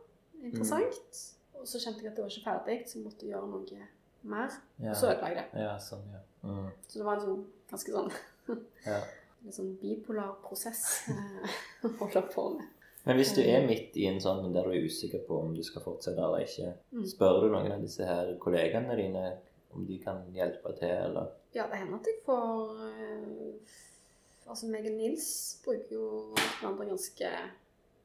B: interessant. Og så kjente jeg at det var ikke ferdig, så jeg måtte gjøre noe mer. Og så
A: Ja.
B: ødela jeg det.
A: ja, sånn, ja. Mm.
B: Så det var en sånn ganske sånn
A: ja.
B: litt sånn bipolar prosess eh, å holde på med.
A: Men hvis du
B: Eh.
A: er midt i en sånn der du er usikker på om du skal fortsette eller ikke,
B: Mm.
A: spør du noen av disse her kollegaene dine om de kan hjelpe til, eller
B: Ja, det hender at jeg får eh, Altså, meg og Nils bruker jo hverandre ganske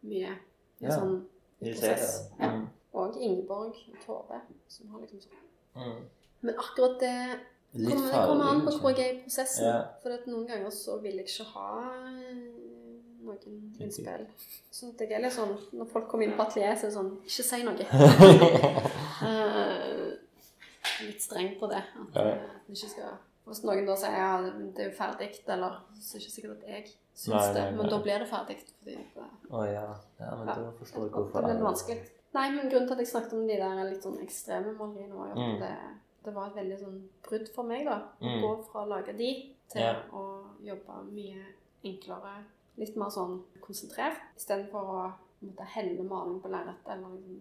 B: mye. i
A: Ja.
B: Sånn, i
A: De ser
B: prosess.
A: det. Mm.
B: Og Ingeborg og Tove, som har liksom sånn
A: Mm.
B: Men akkurat det
A: Litt
B: kommer,
A: farlig,
B: kommer an på hvor
A: kanskje.
B: jeg er i prosessen.
A: Ja.
B: For at noen ganger så vil jeg ikke ha eh, noen innspill. Så det er litt sånn, når folk kommer inn på atelieret, så er det sånn Ikke si noe. Eh, litt streng på det. At
A: Ja.
B: eh, at vi ikke skal Hvis noen da sier ja, det er jo ferdig, eller så er det ikke sikkert at jeg syns
A: Nei,
B: det.
A: nei, nei.
B: Men da blir det ferdig. Fordi at, eh,
A: Å ja. ja. Men
B: Ja.
A: da forstår jeg
B: det
A: hvorfor.
B: blir vanskelig. Nei, men grunnen til at jeg snakket om de der litt sånn ekstreme maleriene, var jo at
A: Mm.
B: det, det var et veldig sånn brudd for meg, da. Å
A: Mm.
B: gå fra å lage de til
A: Ja.
B: å jobbe mye enklere, litt mer sånn konsentrert, istedenfor å måtte helle maling på lerretet, eller liksom,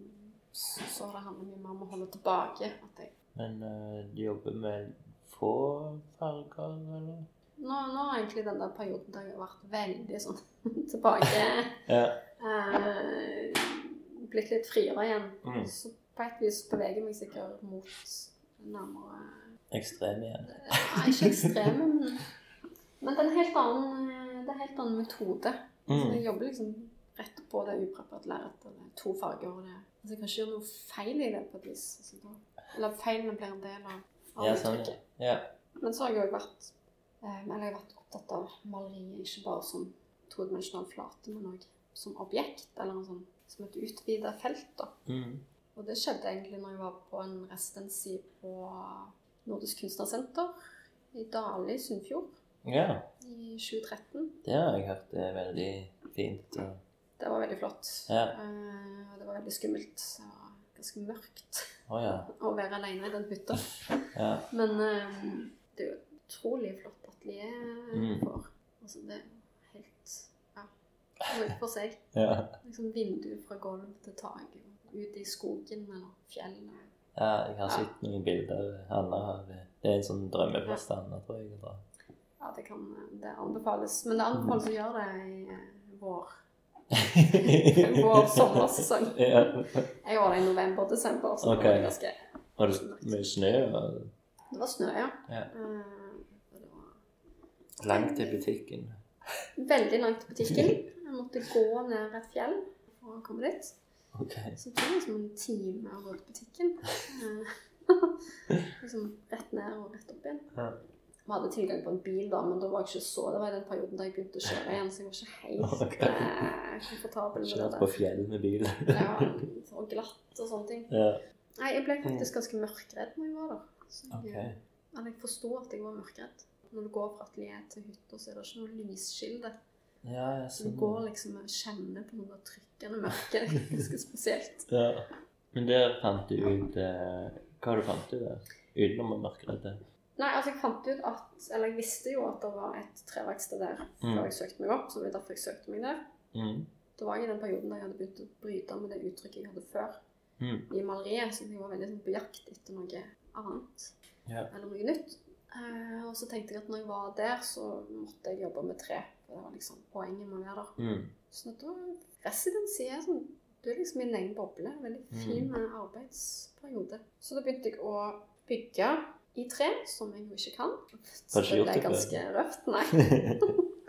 B: så så det handler mye mer om å holde tilbake. At jeg,
A: Men eh, du jobber med få farger, eller?
B: nå, nå er egentlig den der perioden der jeg har vært veldig sånn tilbake
A: Ja.
B: eh, Blitt litt friere igjen.
A: Mm.
B: Så på et vis beveger jeg meg sikkert mot nærmere
A: Ekstrem igjen.
B: Nei, ikke ekstreme, men, men det er en helt annen, eh, det er en helt annen metode. Så
A: Mm.
B: jeg jobber liksom rett på det upreparerte lerretet. Det er to farger. og det. Altså, jeg kan ikke gjøre noe feil i det på et vis. Altså, da, eller feilene blir en del av av
A: Ja, sånn.
B: uttrykket.
A: Ja.
B: Men så har jeg jo vært, eh, eller jeg har vært opptatt av maleriet ikke bare som todimensjonal flate, men òg som objekt, eller en sånn, som et utvida felt. da.
A: Mm.
B: Og det skjedde egentlig når jeg var på en residency på Nordisk kunstnersenter i Dale i Sunnfjord
A: ja.
B: i 2013.
A: Det har jeg hørt er veldig fint. Og,
B: Det var veldig flott.
A: Ja.
B: Eh, og det var veldig skummelt. Det var ganske mørkt
A: å ja.
B: å være alene i den hytta.
A: ja.
B: Men eh, det er jo et utrolig flott atelier
A: Mm.
B: for. Altså, det er jo helt ja, noe for seg.
A: Ja.
B: Liksom vindu fra gulv til tak. og Ut i skogen eller fjellet.
A: ja. Jeg har sett noen bilder Anna har. Det er en sånn drømmeplass til Anna, tror jeg. Da.
B: Ja, det, kan, det anbefales. Men det anbefales å gjøre det i eh, vår. Vår sommersesong.
A: Ja.
B: Jeg var der i november-desember, så
A: Ok.
B: det var ganske
A: Og det- med snø og
B: Det var snø, ja.
A: Ja.
B: Eh, og det var
A: langt til butikken.
B: veldig langt til butikken. Jeg måtte gå ned et fjell for å komme dit.
A: Ok.
B: Så det tok liksom en time å gå til butikken. Eh, liksom rett ned og rett opp igjen.
A: Ja.
B: Vi hadde tilgang på en bil, da, men da var jeg ikke så Det var i den perioden da jeg begynte å kjøre igjen, så jeg var ikke helt
A: Ok.
B: eh, komfortabel med det
A: Kjørt på
B: der.
A: fjell med bil.
B: Ja, liksom, og glatt og sånne ting.
A: Ja.
B: Nei, jeg ble faktisk ganske mørkredd når jeg var der. Så jeg,
A: Ok.
B: Men jeg forsto at jeg var mørkredd. Når du går fra atelier til hytta, så er det ikke noe lyskilde.
A: Ja, jeg
B: Så du
A: sånn.
B: går liksom og kjenner på noe trykkende mørke. Det er ganske spesielt.
A: Ja. Men der fant du ut eh, Hva har du fant ut der? Utenom å mørkeredd?
B: Nei, altså jeg fant ut at Eller jeg visste jo at det var et treverksted der før
A: Mm.
B: jeg søkte meg opp. Så det var derfor jeg søkte meg der.
A: Mm.
B: Da var jeg i den perioden da jeg hadde begynt å bryte med det uttrykket jeg hadde før
A: Mm.
B: i maleriet. Så jeg var veldig sånn på jakt etter noe annet.
A: Ja.
B: Eller noe nytt. Eh, og så tenkte jeg at når jeg var der, så måtte jeg jobbe med tre. For det var liksom poenget med å være der.
A: Mm.
B: Sånn at da residency er sånn Du er liksom i din egen boble. Veldig
A: Mm.
B: fin eh, arbeidsperiode. Så da begynte jeg å bygge i tre, som jeg jo ikke kan. Så
A: ikke gjort
B: ble
A: det før?
B: ganske røft. Nei.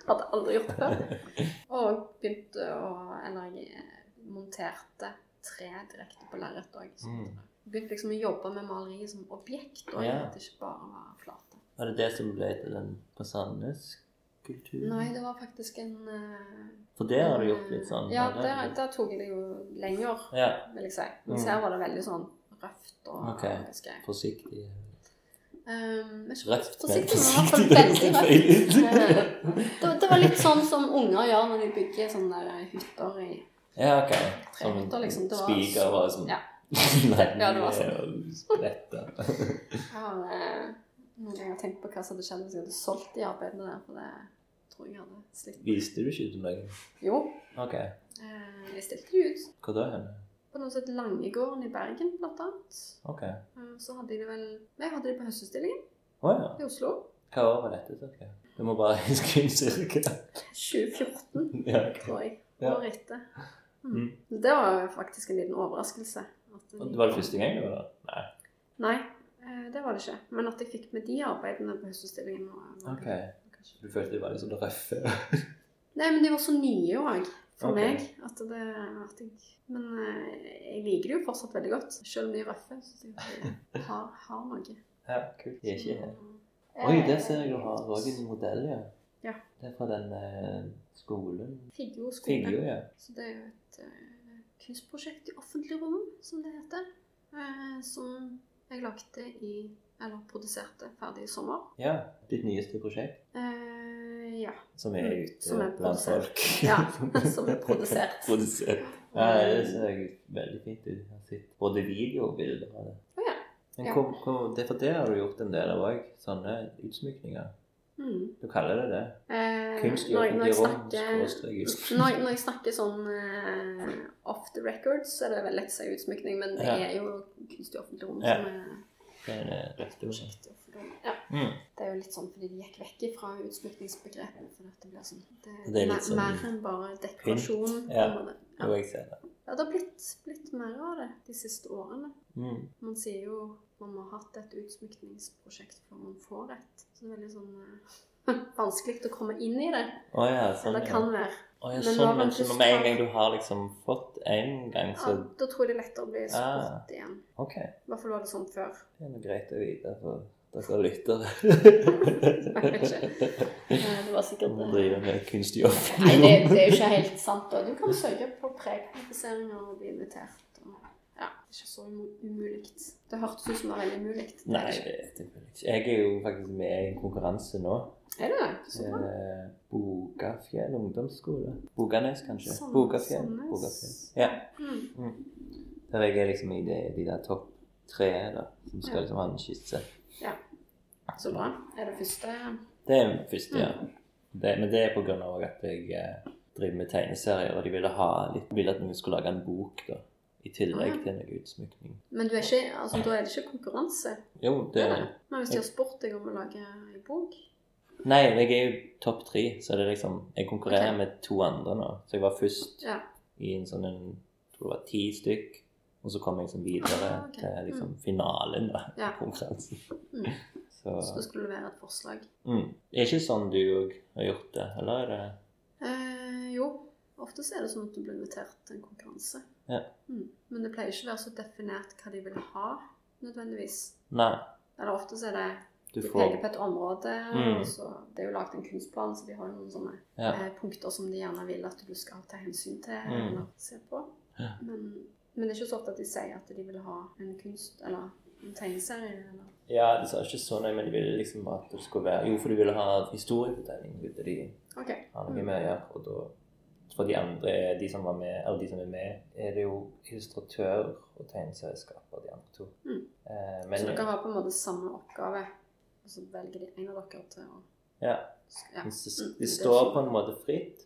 B: Hadde aldri gjort det før. Og begynte å Eller jeg eh, monterte tre direkte på lerret òg.
A: Mm.
B: Begynte liksom å jobbe med maleri som objekt, og
A: Ja.
B: at det ikke bare var flate.
A: Var det det som ble til den på Sandnes kultur?
B: Nei, det var faktisk en eh,
A: For det har du gjort litt sånn?
B: Ja,
A: har du?
B: der, der tok jeg det jo lenger.
A: ja.
B: vil jeg si. Mens
A: Mm.
B: her var det veldig sånn røft og
A: Ok.
B: ganske
A: Forsiktig.
B: um, ikke
A: Røft,
B: Forsiktig, men i hvert fall
A: men
B: veldig røft.
A: forsiktig.
B: Eh, det, det var litt sånn som unger gjør når de bygger sånne der hytter i
A: Ja, ok. Som
B: Trehytter, liksom, det var-
A: spiker var sånn
B: Ja.
A: Nei,
B: Ja, det var sånn.
A: og spretter.
B: Jeg har eh, noen ganger tenkt på hva som hadde skjedd hvis jeg hadde solgt de arbeidene der. For det tror jeg hadde slitt.
A: Viste du ikke ut om dagen?
B: Jo,
A: Ok.
B: eh, jeg stilte de ut
A: Hvor da hen?
B: på noe som het Langegården i Bergen, blant annet.
A: Ok.
B: Eh, Så hadde jeg det vel Nei, jeg hadde de på Høstutstillingen
A: Å ja.
B: i Oslo.
A: Hva år var dette? cirka? Du må bare huske en cirka.
B: 2014,
A: Ja, ok.
B: tror jeg.
A: Ja.
B: Året etter. Hmm.
A: Mm.
B: Det var jo faktisk en liten overraskelse. at de-
A: Det var det første gang du var der? Nei.
B: Nei, eh, det var det ikke. Men at jeg fikk med de arbeidene på høstutstillingen. var- var-
A: Ok.
B: kanskje.
A: Du følte de var litt sånn røffe?
B: Nei, men de var så nye òg, for
A: Ok.
B: meg. At det, at jeg, men eh, jeg liker det jo fortsatt veldig godt. Selv om de er røffe. Så de har, har noe.
A: Ja, kult. De er ikke her.
B: Eh,
A: Oi, der ser jeg du har òg en modell, ja.
B: Ja.
A: Det er fra den eh, skolen
B: Figgjo skole.
A: Figgjo, ja.
B: Så det er jo et eh, kunstprosjekt i offentlig rom, som det heter. eh, som jeg lagde i Eller produserte ferdig i sommer.
A: Ja. Ditt nyeste prosjekt,
B: Eh, ja.
A: som er
B: Mm,
A: ute
B: som er
A: blant
B: produsert.
A: folk.
B: Ja, som er produsert.
A: produsert. Ja, det ser jo veldig fint ut. Jeg har sett både video og bilder av det.
B: Å ja.
A: Men
B: Ja.
A: hvor, hvor, det er for det har du gjort en del av òg, sånne utsmykninger.
B: Mm.
A: Du kaller det det?
B: Eh,
A: Kunst i
B: når, når, jeg
A: offentlige rom?
B: snakker,
A: skråstrek kunst.
B: når, jeg- når jeg snakker sånn eh, off the record, så er det vel lett å si utsmykning, men det
A: Ja.
B: er jo kunst i offentlig rom
A: Ja.
B: som er
A: Det er eh, det rette ordet.
B: prosjekt. i offentlig rom. Ja.
A: Mm.
B: Det er jo litt sånn fordi de gikk vekk ifra utsmykningsbegrepet. For at det blir sånn Det,
A: Det er
B: er
A: litt
B: mer,
A: sånn-
B: mer enn bare dekorasjon. på en
A: Ja.
B: måte.
A: Jo, jeg ser det.
B: Ja, det har blitt, blitt mer av det de siste årene.
A: Mm.
B: Man sier jo man må ha hatt et utsmykningsprosjekt før man får et. Så det er veldig sånn eh, vanskelig å komme inn i det.
A: Å ja, sånn.
B: Eller kan være.
A: Å ja,
B: Men
A: sånn,
B: når
A: men
B: man
A: så
B: først
A: med en
B: har-
A: gang du har liksom fått en gang,
B: Ja,
A: så
B: da tror jeg det er lettere å bli
A: Ah.
B: spurt igjen.
A: OK.
B: I hvert fall var det sånn før.
A: Det er noe greit å vite for dere lyttere.
B: Jeg vet ikke. Eh, Det var sikkert
A: Som
B: eh,
A: driver med kunstig jobb.
B: Nei, det, det er jo ikke helt sant. da. Du kan søke på prekvalifisering og bli invitert. Og, ja, det er ikke så umu- umulig. Det hørtes ut som det var veldig umulig. Det er
A: Nei,
B: det ikke.
A: det det vil jeg ikke. Jeg er jo faktisk med i en konkurranse nå.
B: Er det det? Så bra.
A: Eh, Bogafjell ungdomsskole. Boganes, kanskje.
B: Sandnes-
A: Bogafjell.
B: Sandnes.
A: Bogafjell. Ja.
B: Mm.
A: Der jeg er liksom i de, de der topp tre da, som skal
B: Ja.
A: liksom ha en skisse.
B: Så bra. Er det første
A: Det er den første, ja.
B: Mm.
A: Det, men det er på grunn av at jeg eh, driver med tegneserier, og de ville, ha litt, ville at vi skulle lage en bok da, i tillegg
B: Ah.
A: til noe utsmykning.
B: Men du er ikke, altså, da er det ikke konkurranse?
A: Jo, det
B: er det. Men hvis de har spurt deg om å lage ei bok
A: Nei, jeg er jo topp tre, så det er liksom Jeg konkurrerer
B: Ok.
A: med to andre nå. Så jeg var først
B: Ja.
A: i en sånn en jeg tror det var ti stykk. Og så kom jeg liksom videre
B: Ah, ok.
A: til liksom finalen, da.
B: Ja.
A: i Konkurransen.
B: Mm.
A: Så
B: Så skulle det være et forslag.
A: mm. Det er ikke sånn du òg har gjort det, eller er det
B: Eh, jo, ofte så er det sånn at du blir invitert til en konkurranse.
A: Ja.
B: Mm. Men det pleier ikke å være så definert hva de vil ha, nødvendigvis.
A: Nei.
B: Eller ofte så er det
A: Du
B: De
A: får
B: peker på et område.
A: Mm.
B: og så Det er jo lagd en kunstplan, så de har jo noen sånne
A: Ja.
B: eh, punkter som de gjerne vil at du skal ta hensyn til
A: Mm.
B: eller se på.
A: Ja.
B: Men, men det er ikke så ofte at de sier at de vil ha en kunst eller en tegneserie. Eller.
A: Ja, de sa ikke så nøye, men de ville liksom at det skulle være Jo, for de ville ha historiefortelling ville de
B: Ok. Mm.
A: ha noe med å gjøre. Og da For de andre, de som var med, eller de som er med, er det jo illustratør og tegneserieskaper, de andre to.
B: Mm.
A: Eh,
B: så
A: men
B: dere har på en måte samme oppgave, og så velger de en av dere til å
A: ja,
B: ja.
A: de, s-
B: Mm,
A: de
B: det er
A: står
B: sånn.
A: på en måte fritt,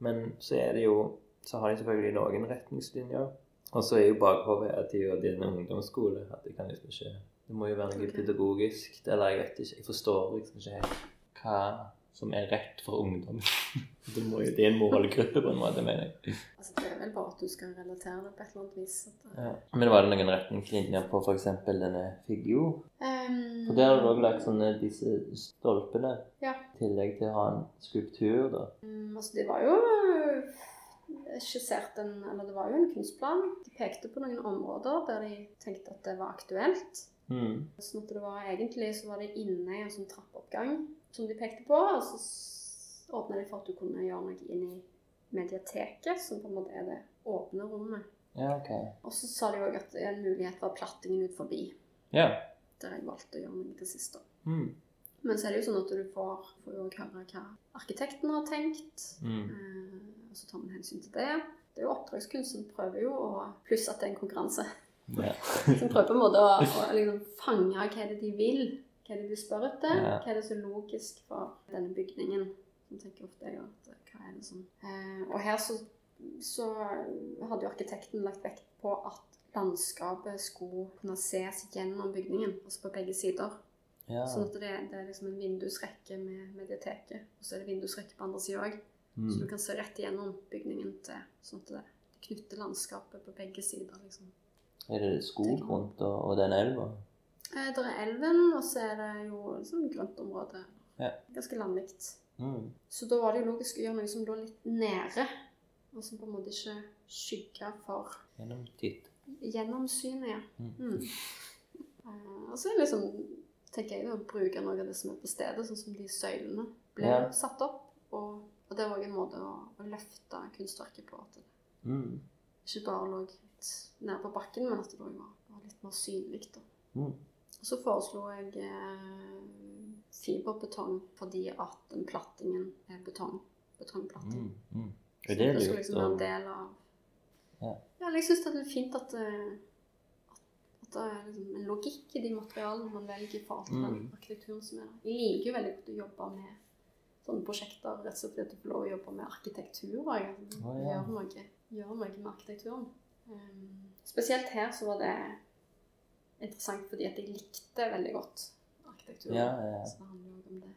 A: men så er det jo Så har de selvfølgelig noen retningslinjer. Og så er jo bakhodet at de gjør det i en ungdomsskole. At det kan liksom ikke Det må jo være noe
B: Ok.
A: pedagogisk. Eller jeg vet ikke. Jeg forstår liksom ikke helt hva som er rett for ungdom. Det, må jo, det er en målgruppe, på en måte, mener jeg.
B: Altså, det er vel bare at du skal relatere det på et eller annet vis. At,
A: Ja. Men var det noen retningslinjer på f.eks. denne figur?
B: Ehm,
A: For der har du òg lagt sånne disse stolpene.
B: Ja.
A: I tillegg til å ha en skulptur, da.
B: Mm, altså, det var jo eh, skissert en Eller det var jo en kunstplan. De pekte på noen områder der de tenkte at det var aktuelt.
A: Mm.
B: Sånn at det var egentlig så var det inne i en sånn trappeoppgang som de pekte på. Og så s- åpna de for at du kunne gjøre noe inn i mediateket, som på en måte er det åpne rommet.
A: Ja, ok.
B: Og så sa de òg at en mulighet var plattingen ut forbi,
A: Ja.
B: der jeg valgte å gjøre noe til sist. da.
A: Mm.
B: Men så er det jo sånn at du får, får jo også høre hva arkitekten har tenkt.
A: Mm.
B: Eh, Og så tar man hensyn til det. Det er jo oppdragskunst som prøver jo å Pluss at det er en konkurranse.
A: Ja.
B: Som prøver på en måte å, å liksom fange hva er det de vil. Hva er det de spør etter?
A: Ja.
B: Hva er det som er logisk for denne bygningen? Man tenker ofte jeg, at eh, hva er det som eh, Og her så, så hadde jo arkitekten lagt vekt på at landskapet skulle kunne ses gjennom bygningen, altså på begge sider.
A: ja.
B: Sånn at det, det er liksom en vindusrekke med mediateket, og så er det vindusrekke på andre sida òg. Så du
A: Mm.
B: kan se rett igjennom bygningen til sånn at det knytter landskapet på begge sider. liksom.
A: Er det skog rundt og, og den elva?
B: Eh, der er elven, og så er det jo liksom grøntområde.
A: Ja.
B: Ganske landlig.
A: Mm.
B: Så da var det jo logisk å gjøre noe som lå litt nede, og som på en måte ikke skygga for
A: Gjennom titt.
B: gjennomsynet. ja.
A: Mm.
B: Mm. Eh, og så er det liksom, tenker jeg, å bruke noe av det som er på stedet, sånn som de søylene ble
A: Ja.
B: satt opp. Og, og det var også en måte å, å løfte kunstverket på. at det
A: Mm.
B: ikke bare lå litt nær på bakken, men at det også var, var litt mer synlig. Da.
A: Mm.
B: Og så foreslo jeg eh, fiberbetong fordi at den plattingen er betong. Betongplatting.
A: Mm. Mm.
B: Så
A: Er det
B: det liksom skulle
A: lurt?
B: liksom være en
A: Og,
B: del av
A: Ja.
B: Ja, eller jeg syns det er fint at, eh, at, at Det er liksom en logikk i de materialene man velger i forhold til den
A: Mm.
B: arkitekturen som er der. Jeg liker jo veldig godt å jobbe med sånne prosjekter, rett og slett fordi at du får lov å jobbe med arkitektur. og Jeg
A: Å, ja.
B: gjør, noe, gjør noe med arkitekturen. Ehm, spesielt her så var det interessant fordi at jeg likte veldig godt arkitekturen.
A: Ja, ja, ja.
B: Så det handler jo også om det.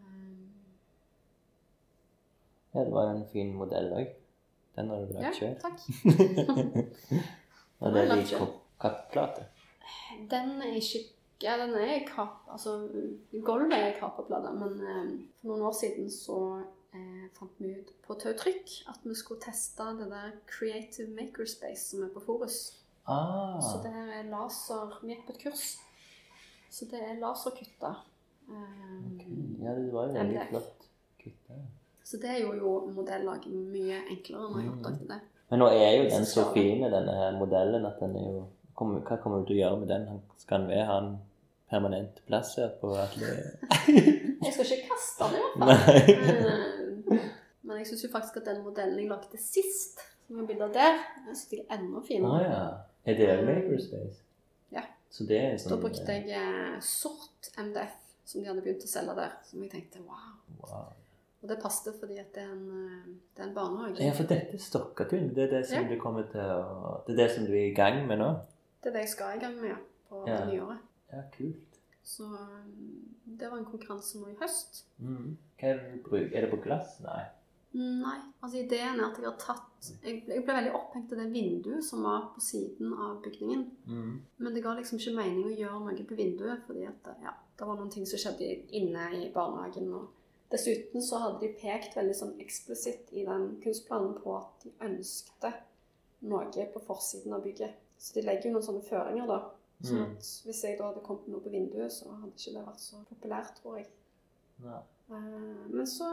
B: Ehm,
A: Ja, det var jo en fin modell òg. Den har du
B: ja,
A: lagd sjøl.
B: takk.
A: Og
B: Den har
A: det
B: jeg
A: er
B: lagd
A: i
B: selv.
A: kap- kappplate.
B: Den er ikke Ja, den er kap... Altså, gulvet er kaperplate, men eh, for noen år siden så eh, fant vi ut på Tautrykk at vi skulle teste det der Creative Makerspace som er på Forus.
A: Ah,
B: Så det her er laser Vi gikk på et kurs, så det er laserkutta. Eh,
A: ok. Ja, det var jo veldig
B: MDF.
A: flott. kutta.
B: Så det gjorde jo modellaging mye enklere når jeg
A: Mm.
B: oppdaget det.
A: Men nå er jo den så
B: Sosiale.
A: fin, denne her modellen, at den er jo kommer- Hva kommer du til å gjøre med den? Han- Skal den være ha en permanent plass her på atelieret?
B: Jeg skal ikke kaste den, i hvert fall.
A: Nei.
B: Eh, Men jeg syns jo faktisk at den modellen jeg lagde sist, som er bildet der, den synes jeg er enda
A: Å
B: finere.
A: Ah, ja. Er det en makerspace?
B: Ja.
A: Så det er en
B: Da
A: sånn
B: brukte jeg eh, sort MDF, som de hadde begynt å selge der. Som jeg tenkte wow.
A: eh, Wow.
B: Og det passet fordi at det er en, eh, det er en barnehage.
A: Ja, for dette er Stokkatun. Det er det som
B: Ja.
A: du kommer til å Det er det som du er i gang med nå?
B: Det er det jeg skal i gang med ja, på
A: Ja.
B: det nye året.
A: Ja, kult.
B: Så eh, det var en konkurranse nå i høst.
A: Mm. Hva er det du bruker? Er det på glass? Nei.
B: Nei. altså Ideen er at jeg har tatt Jeg ble, jeg ble veldig opphengt i det vinduet som var på siden av bygningen.
A: Mm.
B: Men det ga liksom ikke mening å gjøre noe på vinduet, fordi at ja, det var noen ting som skjedde inne i barnehagen. og Dessuten så hadde de pekt veldig sånn eksplisitt i den kunstplanen på at de ønskte noe på forsiden av bygget. Så de legger jo noen sånne føringer, da. Sånn
A: Mm.
B: at hvis jeg da hadde kommet med noe på vinduet, så hadde ikke det vært så populært, tror jeg.
A: Nei.
B: Eh, Men så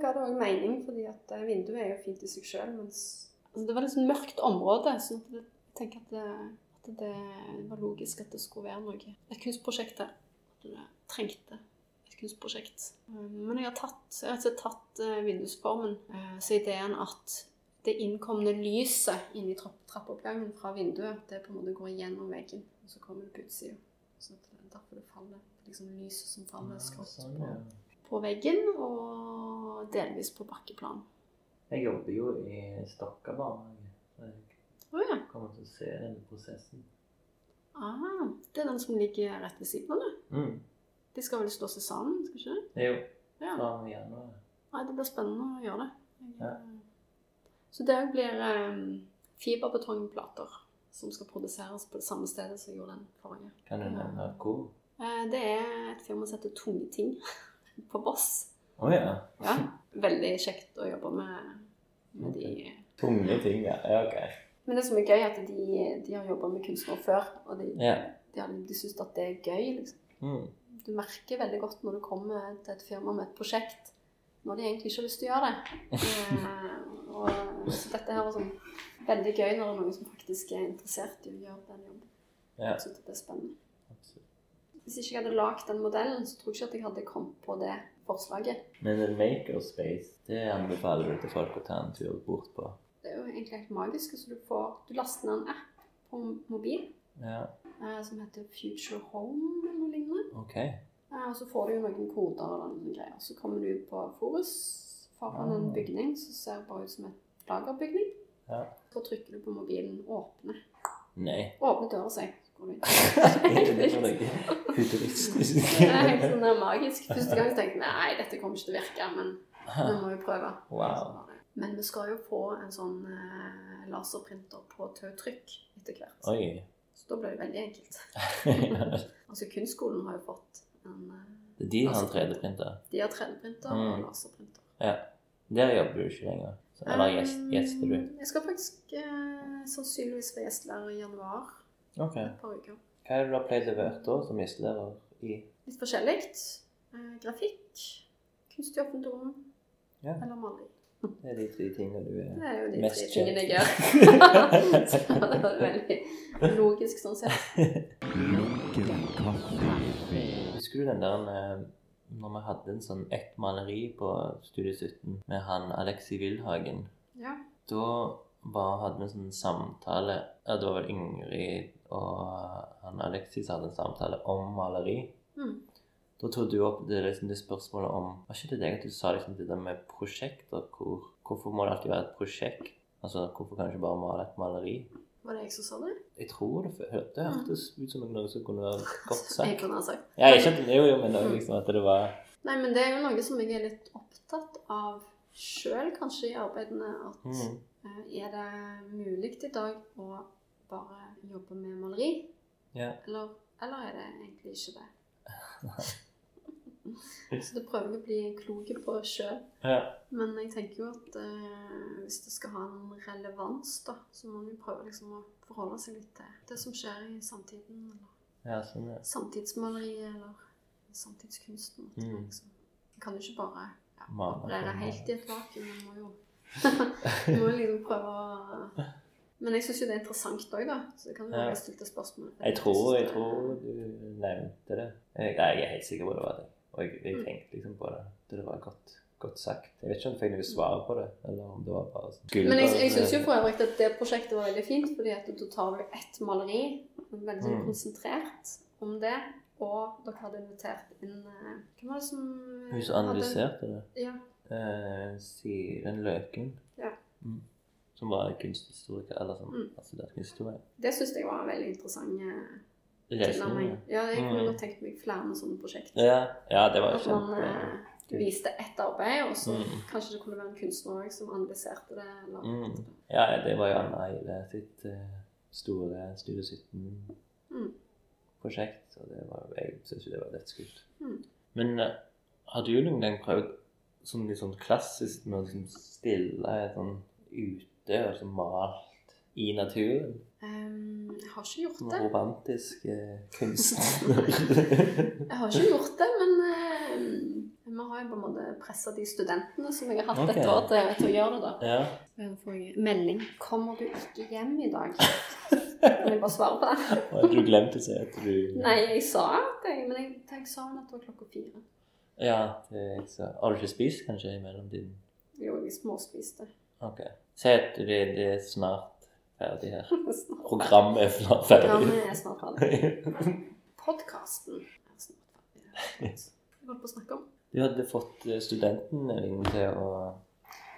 B: ga det òg mening, fordi at eh, vinduet er jo fint i seg sjøl, mens altså Det var litt sånn mørkt område, så jeg tenker at det, at det var logisk at det skulle være noe. Et kunstprosjekt der. At det trengte et kunstprosjekt. Eh, Men jeg har tatt, jeg har rett og slett tatt eh, vindusformen. Eh, Så ideen at det innkomne lyset inni trapp- trappeoppgangen fra vinduet, det på en måte går igjennom veggen, og så kommer det på utsida. Så det er derfor det faller. Liksom lyset som faller skrått
A: Sånn,
B: på
A: ja.
B: på veggen og delvis på bakkeplan.
A: Jeg jobber jo i Stokka barnehage. så Jeg
B: Å ja.
A: kommer til å se den prosessen.
B: Ah, det er den som ligger rett ved siden av det.
A: Mm.
B: De skal vel slå seg sammen, skal ikke det?
A: Det er jo
B: Ja.
A: fra og med januar.
B: Nei, det blir spennende å gjøre det. Jeg,
A: Ja.
B: Så det òg blir um, fiberbetongplater som skal produseres på det samme stedet som jeg gjorde den forrige.
A: Kan du nevne hvor?
B: Eh, Det er et firma som heter Tungeting på Voss.
A: Å ja.
B: Ja, veldig kjekt å jobbe med, med de
A: Tunge ting, ja. ja ok.
B: Men det som er gøy, er at de, de har jobba med kunstnere før, og de,
A: Ja.
B: de, har- de syns at det er gøy. liksom.
A: Mm.
B: Du merker veldig godt når du kommer til et firma med et prosjekt, når de egentlig ikke har lyst til å gjøre det. Eh, og, så dette her var sånn veldig gøy når det er noen som faktisk er interessert i å gjøre den jobben.
A: Ja.
B: Jeg synes at det er spennende.
A: absolutt.
B: Hvis ikke jeg hadde lagd den modellen, så tror jeg ikke at jeg hadde kommet på det forslaget.
A: Men en makerspace, det anbefaler du til folk å ta en tur bort på.
B: Det er jo egentlig helt magisk. Så du, får, du laster ned en app på mobil
A: Ja,
B: eh, som heter Future Home eller noe lignende.
A: ok.
B: Ja, Eh, og så får du jo noen koder og noen greier. Så kommer du ut på Forus foran
A: Ah.
B: en bygning som ser bare ut som et lagerbygning.
A: Ja.
B: Så trykker du på mobilen 'åpne'.
A: Nei.
B: Åpne døra seg. så går du ut.
A: Det var noe futuristisk.
B: Det er helt sånn der magisk. Første gang så tenkte jeg nei, dette kommer ikke til å virke, men vi må jo prøve.
A: Wow.
B: Men vi skal jo få en sånn eh, laserprinter på tautrykk etter hvert.
A: Oi.
B: Så da blir det veldig enkelt. Altså kunstskolen har jo fått en eh,
A: Det er de har en 3D-printer.
B: De har 3D-printer
A: Mm.
B: og laserprinter.
A: Ja. Der jobber du ikke lenger. Så- Eller gjest-
B: Um,
A: gjester du.
B: Jeg skal faktisk eh, sannsynligvis være gjestelærer i januar.
A: Ok.
B: Et par uker.
A: Hva er det du har pleid å være da som gjestelærer i?
B: Litt forskjellig. Eh, grafikk, kunst i offentlig rom
A: Ja.
B: eller maling.
A: Det er de tre tingene du
B: Det
A: er.
B: er jo de
A: Mest
B: tre tingene jeg gjør. Så det er veldig logisk sånn sett.
C: Lunken kaffe.
A: Husker du den der eh, når vi hadde en sånn ett maleri på Studie 17 med han Alexi Wilhagen?
B: Ja.
A: Da var, hadde vi en sånn samtale ja, Det var vel Ingrid og eh, han Alexis hadde en samtale om maleri.
B: Mm.
A: Da tok du opp det, liksom, det spørsmålet om Var ikke det deg at du sa liksom, det der med prosjekter? Hvor, hvorfor må det alltid være et prosjekt? Altså, Hvorfor kan du ikke bare male et maleri?
B: Var det jeg som sa det?
A: Jeg tror det, fø- det hørtes ut som noe som kunne være godt
B: Jeg Mm.
A: sagt.
B: kunne ha sagt.
A: Ja, jeg skjønte det jo, jo, men det var liksom at det var
B: Nei, men det er jo noe som jeg er litt opptatt av sjøl, kanskje, i arbeidene. At
A: mm,
B: eh, er det mulig i dag å bare jobbe med maleri?
A: Ja.
B: Eller, eller er det egentlig ikke det? Så det prøver jeg å bli klok på sjøl.
A: ja.
B: Men jeg tenker jo at eh, hvis det skal ha en relevans, da, så må man jo prøve liksom å forholde seg litt til det som skjer i samtiden. Eller
A: Ja, sånn, ja.
B: samtidsmaleriet eller samtidskunsten. at det
A: Mm.
B: Liksom. Man kan jo ikke bare ja,
A: Male på
B: operere
A: en
B: helt i et vakuum. Man må jo man må liksom prøve å Men jeg syns jo det er interessant òg, da. Så det kan jo
A: Ja.
B: være jeg stilte spørsmål.
A: Jeg tror, jeg tror du nevnte det. Jeg, nei, jeg er helt sikker på det var det. Og jeg, jeg
B: Mm.
A: tenkte liksom på det. Det var godt, godt sagt. Jeg vet ikke om jeg fikk noe svar på det, eller om det var bare sånn
B: Men jeg, jeg syns jo for øvrig at det prosjektet var veldig fint, fordi at du tar vel ett maleri, veldig sånn
A: Mm.
B: konsentrert om det, og dere hadde invitert inn eh, Hvem var det som eh,
A: Hun som analyserte det,
B: Ja.
A: eh, Siren Løken,
B: Ja.
A: Mm. som var kunsthistoriker, eller sånn,
B: Mm.
A: altså det er kunsthistorie.
B: Det syns jeg var en veldig interessant eh, tilnærming.
A: Reisende.
B: Ja, jeg kunne
A: Mm.
B: godt tenkt meg flere sånne prosjekt.
A: Ja, ja, det var jo
B: At man
A: kjempe...
B: eh, viste ett arbeid, og så
A: Mm.
B: kanskje det kunne være en kunstner også som analyserte det. Eller,
A: Mm. Ja, det var jo Anna Eile sitt eh, store Studio 17
B: Mm.
A: prosjekt, og det var, jeg synes jo det var dødskult.
B: Mm.
A: Men eh, har du noen gang prøvd sånn litt sånn klassisk med å liksom stille sånn ute og sånn malt i naturen?
B: Ehm, jeg har ikke gjort
A: Sånn
B: det.
A: romantisk eh, kunstner.
B: Jeg har ikke gjort det, men eh, vi har jo på en måte pressa de studentene som jeg har hatt
A: Ok.
B: et år til, til å gjøre det. da.
A: ja.
B: Her får jeg en Melding. 'Kommer du ikke hjem i dag?' Kan jeg bare svare på det?
A: Og at du glemte å si at du
B: Nei, jeg sa det, men jeg, jeg sa vel at det var klokka fire.
A: Ja, det er ikke så Har du ikke spist kanskje i mellomtiden?
B: Jo, jeg småspiste.
A: Ok. Si at det, det er snart ferdig her.
B: Snart.
A: Programmet er snart ferdig.
B: Programmet er snart ferdig. Podkasten er snart ferdig. Hva holdt på å snakke om?
A: Du hadde fått eh, studentene dine til å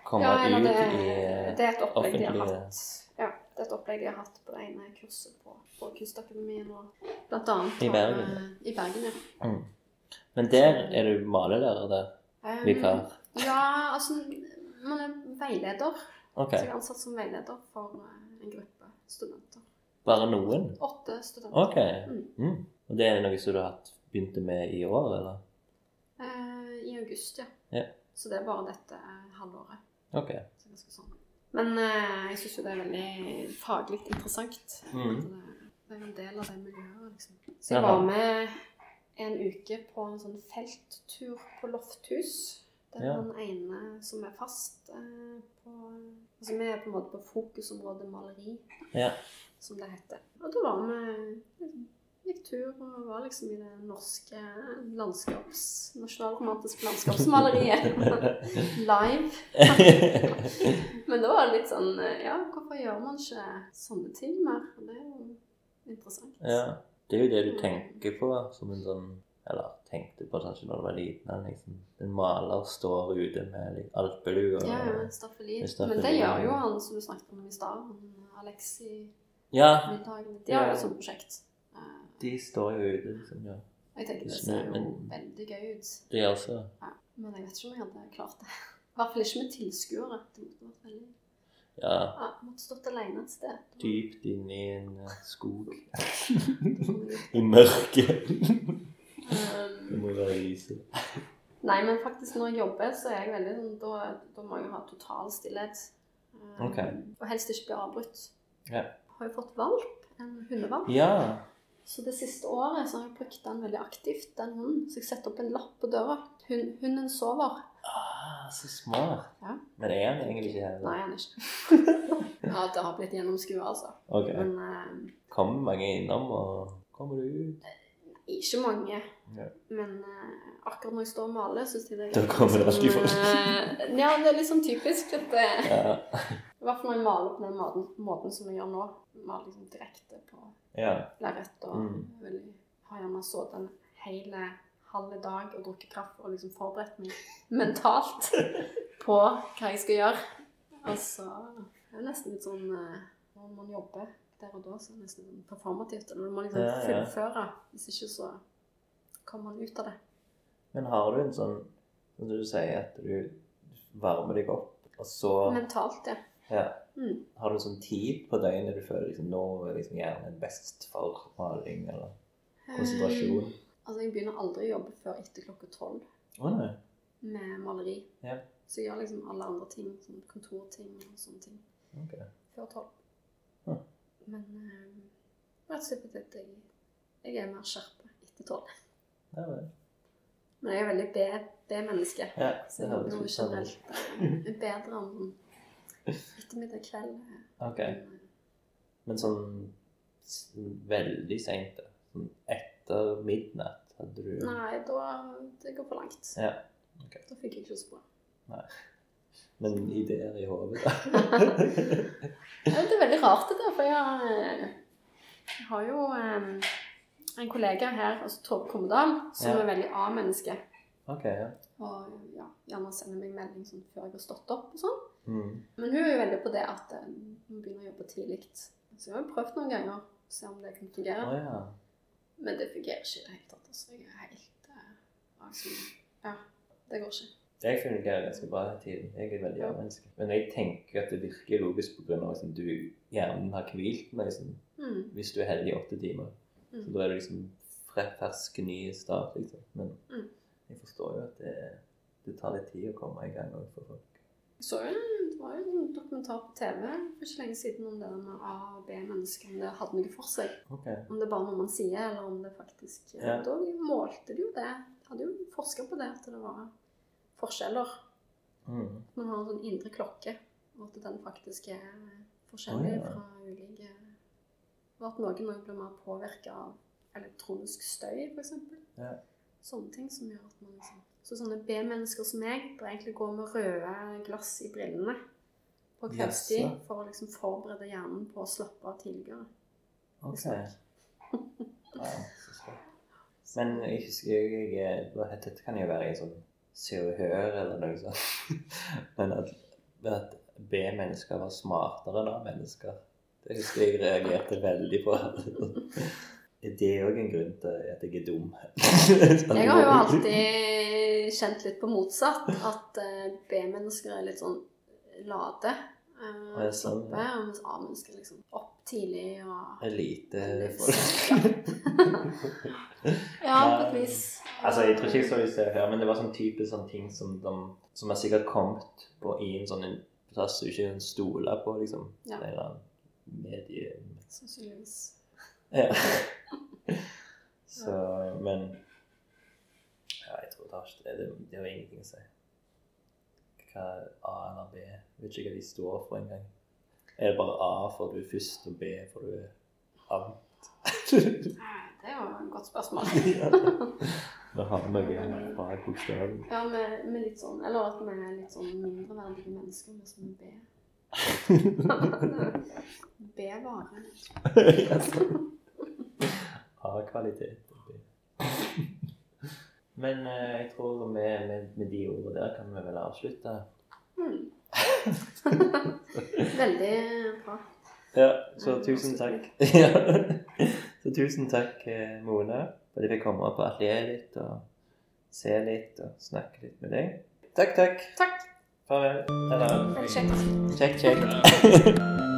A: komme
B: Ja, eller
A: ut
B: det,
A: i
B: det er et opplegg de har
A: offentlige-
B: hatt. Ja, det er et opplegg de har hatt på det ene kurset på, på Kunstakademien og blant annet
A: I
B: har,
A: Bergen.
B: eh, I Bergen, ja.
A: mm. Men der er du malelærer der?
B: Um,
A: Vikar?
B: Ja, altså Man er veileder.
A: Ok.
B: Så jeg er ansatt som veileder for eh, en gruppe studenter.
A: Bare noen?
B: Åtte studenter.
A: Ok. Mm. Og det er noe som du har hatt- begynte med i år, eller?
B: Eh, I august, ja.
A: Ja.
B: Så det er bare dette eh, halvåret.
A: Ok.
B: Så det er ganske sånn. Men eh, jeg syns jo det er veldig faglig interessant.
A: Mhm.
B: Det- eh, Det er en del av det miljøet, liksom. Så jeg
A: Jaha.
B: var med en uke på en sånn felttur på Lofthus. Det er
A: Ja.
B: den ene som er fast eh, på Altså vi er på en måte på fokusområdet maleri,
A: Ja.
B: som det heter. Og da var vi liksom, Gikk tur og var liksom i det norske landskaps... Nasjonalromantiske landskapsmaleriet. Live. Men det var litt sånn Ja, hvorfor gjør man ikke sånne ting mer? Og Det er jo interessant.
A: ja. Det er jo det du tenker på som en sånn Eller tenkte på kanskje når du var liten. at Liksom. En maler står ute med liksom, litt alpelue og
B: Ja, ja, Staffelid.
A: Det er Staffeli,
B: Men det gjør jo
A: ja.
B: han som du snakket om i stad, han Alexi
A: Ja,
B: Middagen. De har jo
A: Ja.
B: et sånt prosjekt. Eh,
A: de står jo ute, liksom. Ja.
B: Jeg tenker det
A: Hvis
B: ser
A: vi-
B: jo
A: men-
B: veldig gøy ut.
A: De også.
B: Men jeg vet ikke om jeg hadde klart det. I hvert fall ikke med tilskuere. Det måtte vært veldig
A: Ja.
B: ja, jeg Måtte stått alene et sted. Da
A: dypt inne i en eh, skog.
B: kom jeg ut.
A: I mørket.
B: Eh,
A: Det må være lyset.
B: Nei, men faktisk når jeg jobber, så er jeg veldig sånn Da, da må jeg ha total stillhet. Eh,
A: Ok.
B: Og helst ikke bli avbrutt.
A: Ja.
B: Jeg har jo fått valp, en hundevalp.
A: Ja.
B: Så det siste året så har jeg brukt den veldig aktivt, den hunden. Så jeg setter opp en lapp på døra. Hun, hunden sover.
A: Ah, så smart.
B: Ja.
A: Men er han egentlig ikke her?
B: Nei, han er ikke. ja, det har blitt gjennomskua, altså.
A: Ok.
B: Men eh,
A: Kommer mange innom, og kommer du ut?
B: ikke mange.
A: Ja.
B: Men eh, akkurat når jeg står og maler, syns jeg det er sånn,
A: Da kommer det alltid folk.
B: Eh, ja, det er litt sånn typisk at det
A: Ja.
B: I hvert fall når jeg maler på den måten, måten som jeg gjør nå. Maler liksom direkte på
A: Ja.
B: lerret og
A: Mm.
B: vil ha gjerne sittet en hel halv dag og drukket kaffe og liksom forberedt meg mentalt på hva jeg skal gjøre. Og så er det nesten litt sånn eh, Når man jobber der og da, så er det nesten sånn performativt. Eller man må liksom
A: Ja, ja.
B: fullføre. Hvis ikke så kommer man ut av det.
A: Men har du en sånn Som du sier, at du varmer deg opp, og så
B: Mentalt, ja.
A: ja,
B: Mm.
A: Har du en sånn tid på døgnet du føler liksom, nå er liksom hjernen best for maling eller konsentrasjon?
B: Eh, altså, jeg begynner aldri å jobbe før etter klokka tolv.
A: Å nei.
B: med maleri.
A: Ja.
B: Så jeg gjør liksom alle andre ting, som kontorting og sånne ting,
A: Ok.
B: før tolv.
A: Ja.
B: Men eh, rett og slett fordi at jeg, jeg er mer skjerpa etter tolv.
A: Ja, vel.
B: Men jeg er veldig B- B-menneske.
A: ja,
B: Så
A: det
B: jeg
A: høres
B: noe
A: ut som
B: generelt eh, bedre om ettermiddag kveld. eh,
A: Ok.
B: enn, eh,
A: Men sånn s- veldig seint, da. Sånn etter midnatt hadde du
B: eh, Nei, da det går for langt.
A: Ja, ok.
B: Da fikk jeg ikke så bra.
A: Men ideer i hodet, da.
B: Ja, Det er veldig rart det der, for jeg har, eh, jeg har jo eh, en kollega her, altså Tove Kommedal, som
A: Ja.
B: er veldig A-menneske.
A: Ok, ja.
B: Og ja, gjerne sender meg melding sånn før jeg har stått opp og sånn.
A: Mm.
B: Men hun er jo veldig på det at eh, hun begynner å jobbe tidlig. Så jeg har jo prøvd noen ganger, se om det kan
A: Å
B: fungere.
A: ja.
B: Men det fungerer ikke i det hele tatt. Altså. Jeg er helt eh, altså, Ja, det går ikke.
A: Jeg fungerer ganske bra den tiden. Jeg er et veldig A-menneske. Men jeg tenker at det virker logisk pga. at du hjernen har hvilt med liksom,
B: Mm.
A: hvis du er heldig i åtte timer. Så
B: Mm.
A: da er det liksom fre- fersk, ny start, liksom. Men
B: Mm.
A: jeg forstår jo at det, det tar litt tid å komme i gang også for folk.
B: Jeg så jo en, det var jo en dokumentar på TV for ikke lenge siden om det der med A- og B-mennesker, om det hadde noe for seg.
A: Ok.
B: Om det er bare noe man sier, eller om det faktisk
A: Ja.
B: Da målte de jo det. Hadde jo forska på det, at det var forskjeller.
A: Mm.
B: Man har en sånn indre klokke, og at den faktisk er
A: Å,
B: forskjellig
A: ja.
B: fra ulike Og at noen også blir mer påvirka av elektronisk støy, f.eks.
A: Ja.
B: Sånne ting som gjør at man liksom Så sånne B-mennesker som meg bør egentlig gå med røde glass i brillene på kveldstid
A: Jaså.
B: for å liksom forberede hjernen på å slappe av tidligere.
A: Ok.
B: Visstnok.
A: Ja, så stort. Men jeg husker jeg, jeg eh, hva heter det? kan jo være i sånn Se og Hør eller noe sånt. Men at, men at B-mennesker var smartere enn A-mennesker, det husker jeg reagerte veldig på. Er det òg en grunn til at jeg er dum?
B: Jeg har jo alltid kjent litt på motsatt. At eh, B-mennesker er litt sånn late. eh,
A: Å, ja, sånn,
B: slappe, og mens A-mennesker er liksom opp tidlig og
A: Elite
B: Veldig
A: folk.
B: Ja, på et
A: Nei.
B: vis.
A: Altså, jeg tror ikke jeg så det i Se og Hør, men det var sånn type sånn ting som de som har sikkert kommet på i en sånn en plass du ikke kan stole på, liksom.
B: Ja.
A: En eller annen medie...
B: Sannsynligvis.
A: Ja. Så, men Ja, jeg tror det har ikke det. Det, det har ingenting å si. Hva A eller B Jeg vet ikke hva de står for engang. Er det bare A for du er først, og B for du er amt?
B: Nei, Det er jo et godt spørsmål.
A: Vi har noe bak bokstaven.
B: Ja, med, med litt sånn, Eller at vi er litt sånn mindreverdige mennesker med sånn B. B-vare.
A: A-kvalitet. Men eh, jeg tror med, med, med de ordene der kan vi vel avslutte.
B: Hmm. Veldig bra.
A: Ja, så tusen takk. Ja. Så tusen takk, eh, Mona, for at jeg fikk komme på atelieret ditt og se litt og snakke litt med deg. Takk, takk.
B: Takk.
A: Farvel. Eller
B: Veldig kjekt.
A: kjekk, kjekk.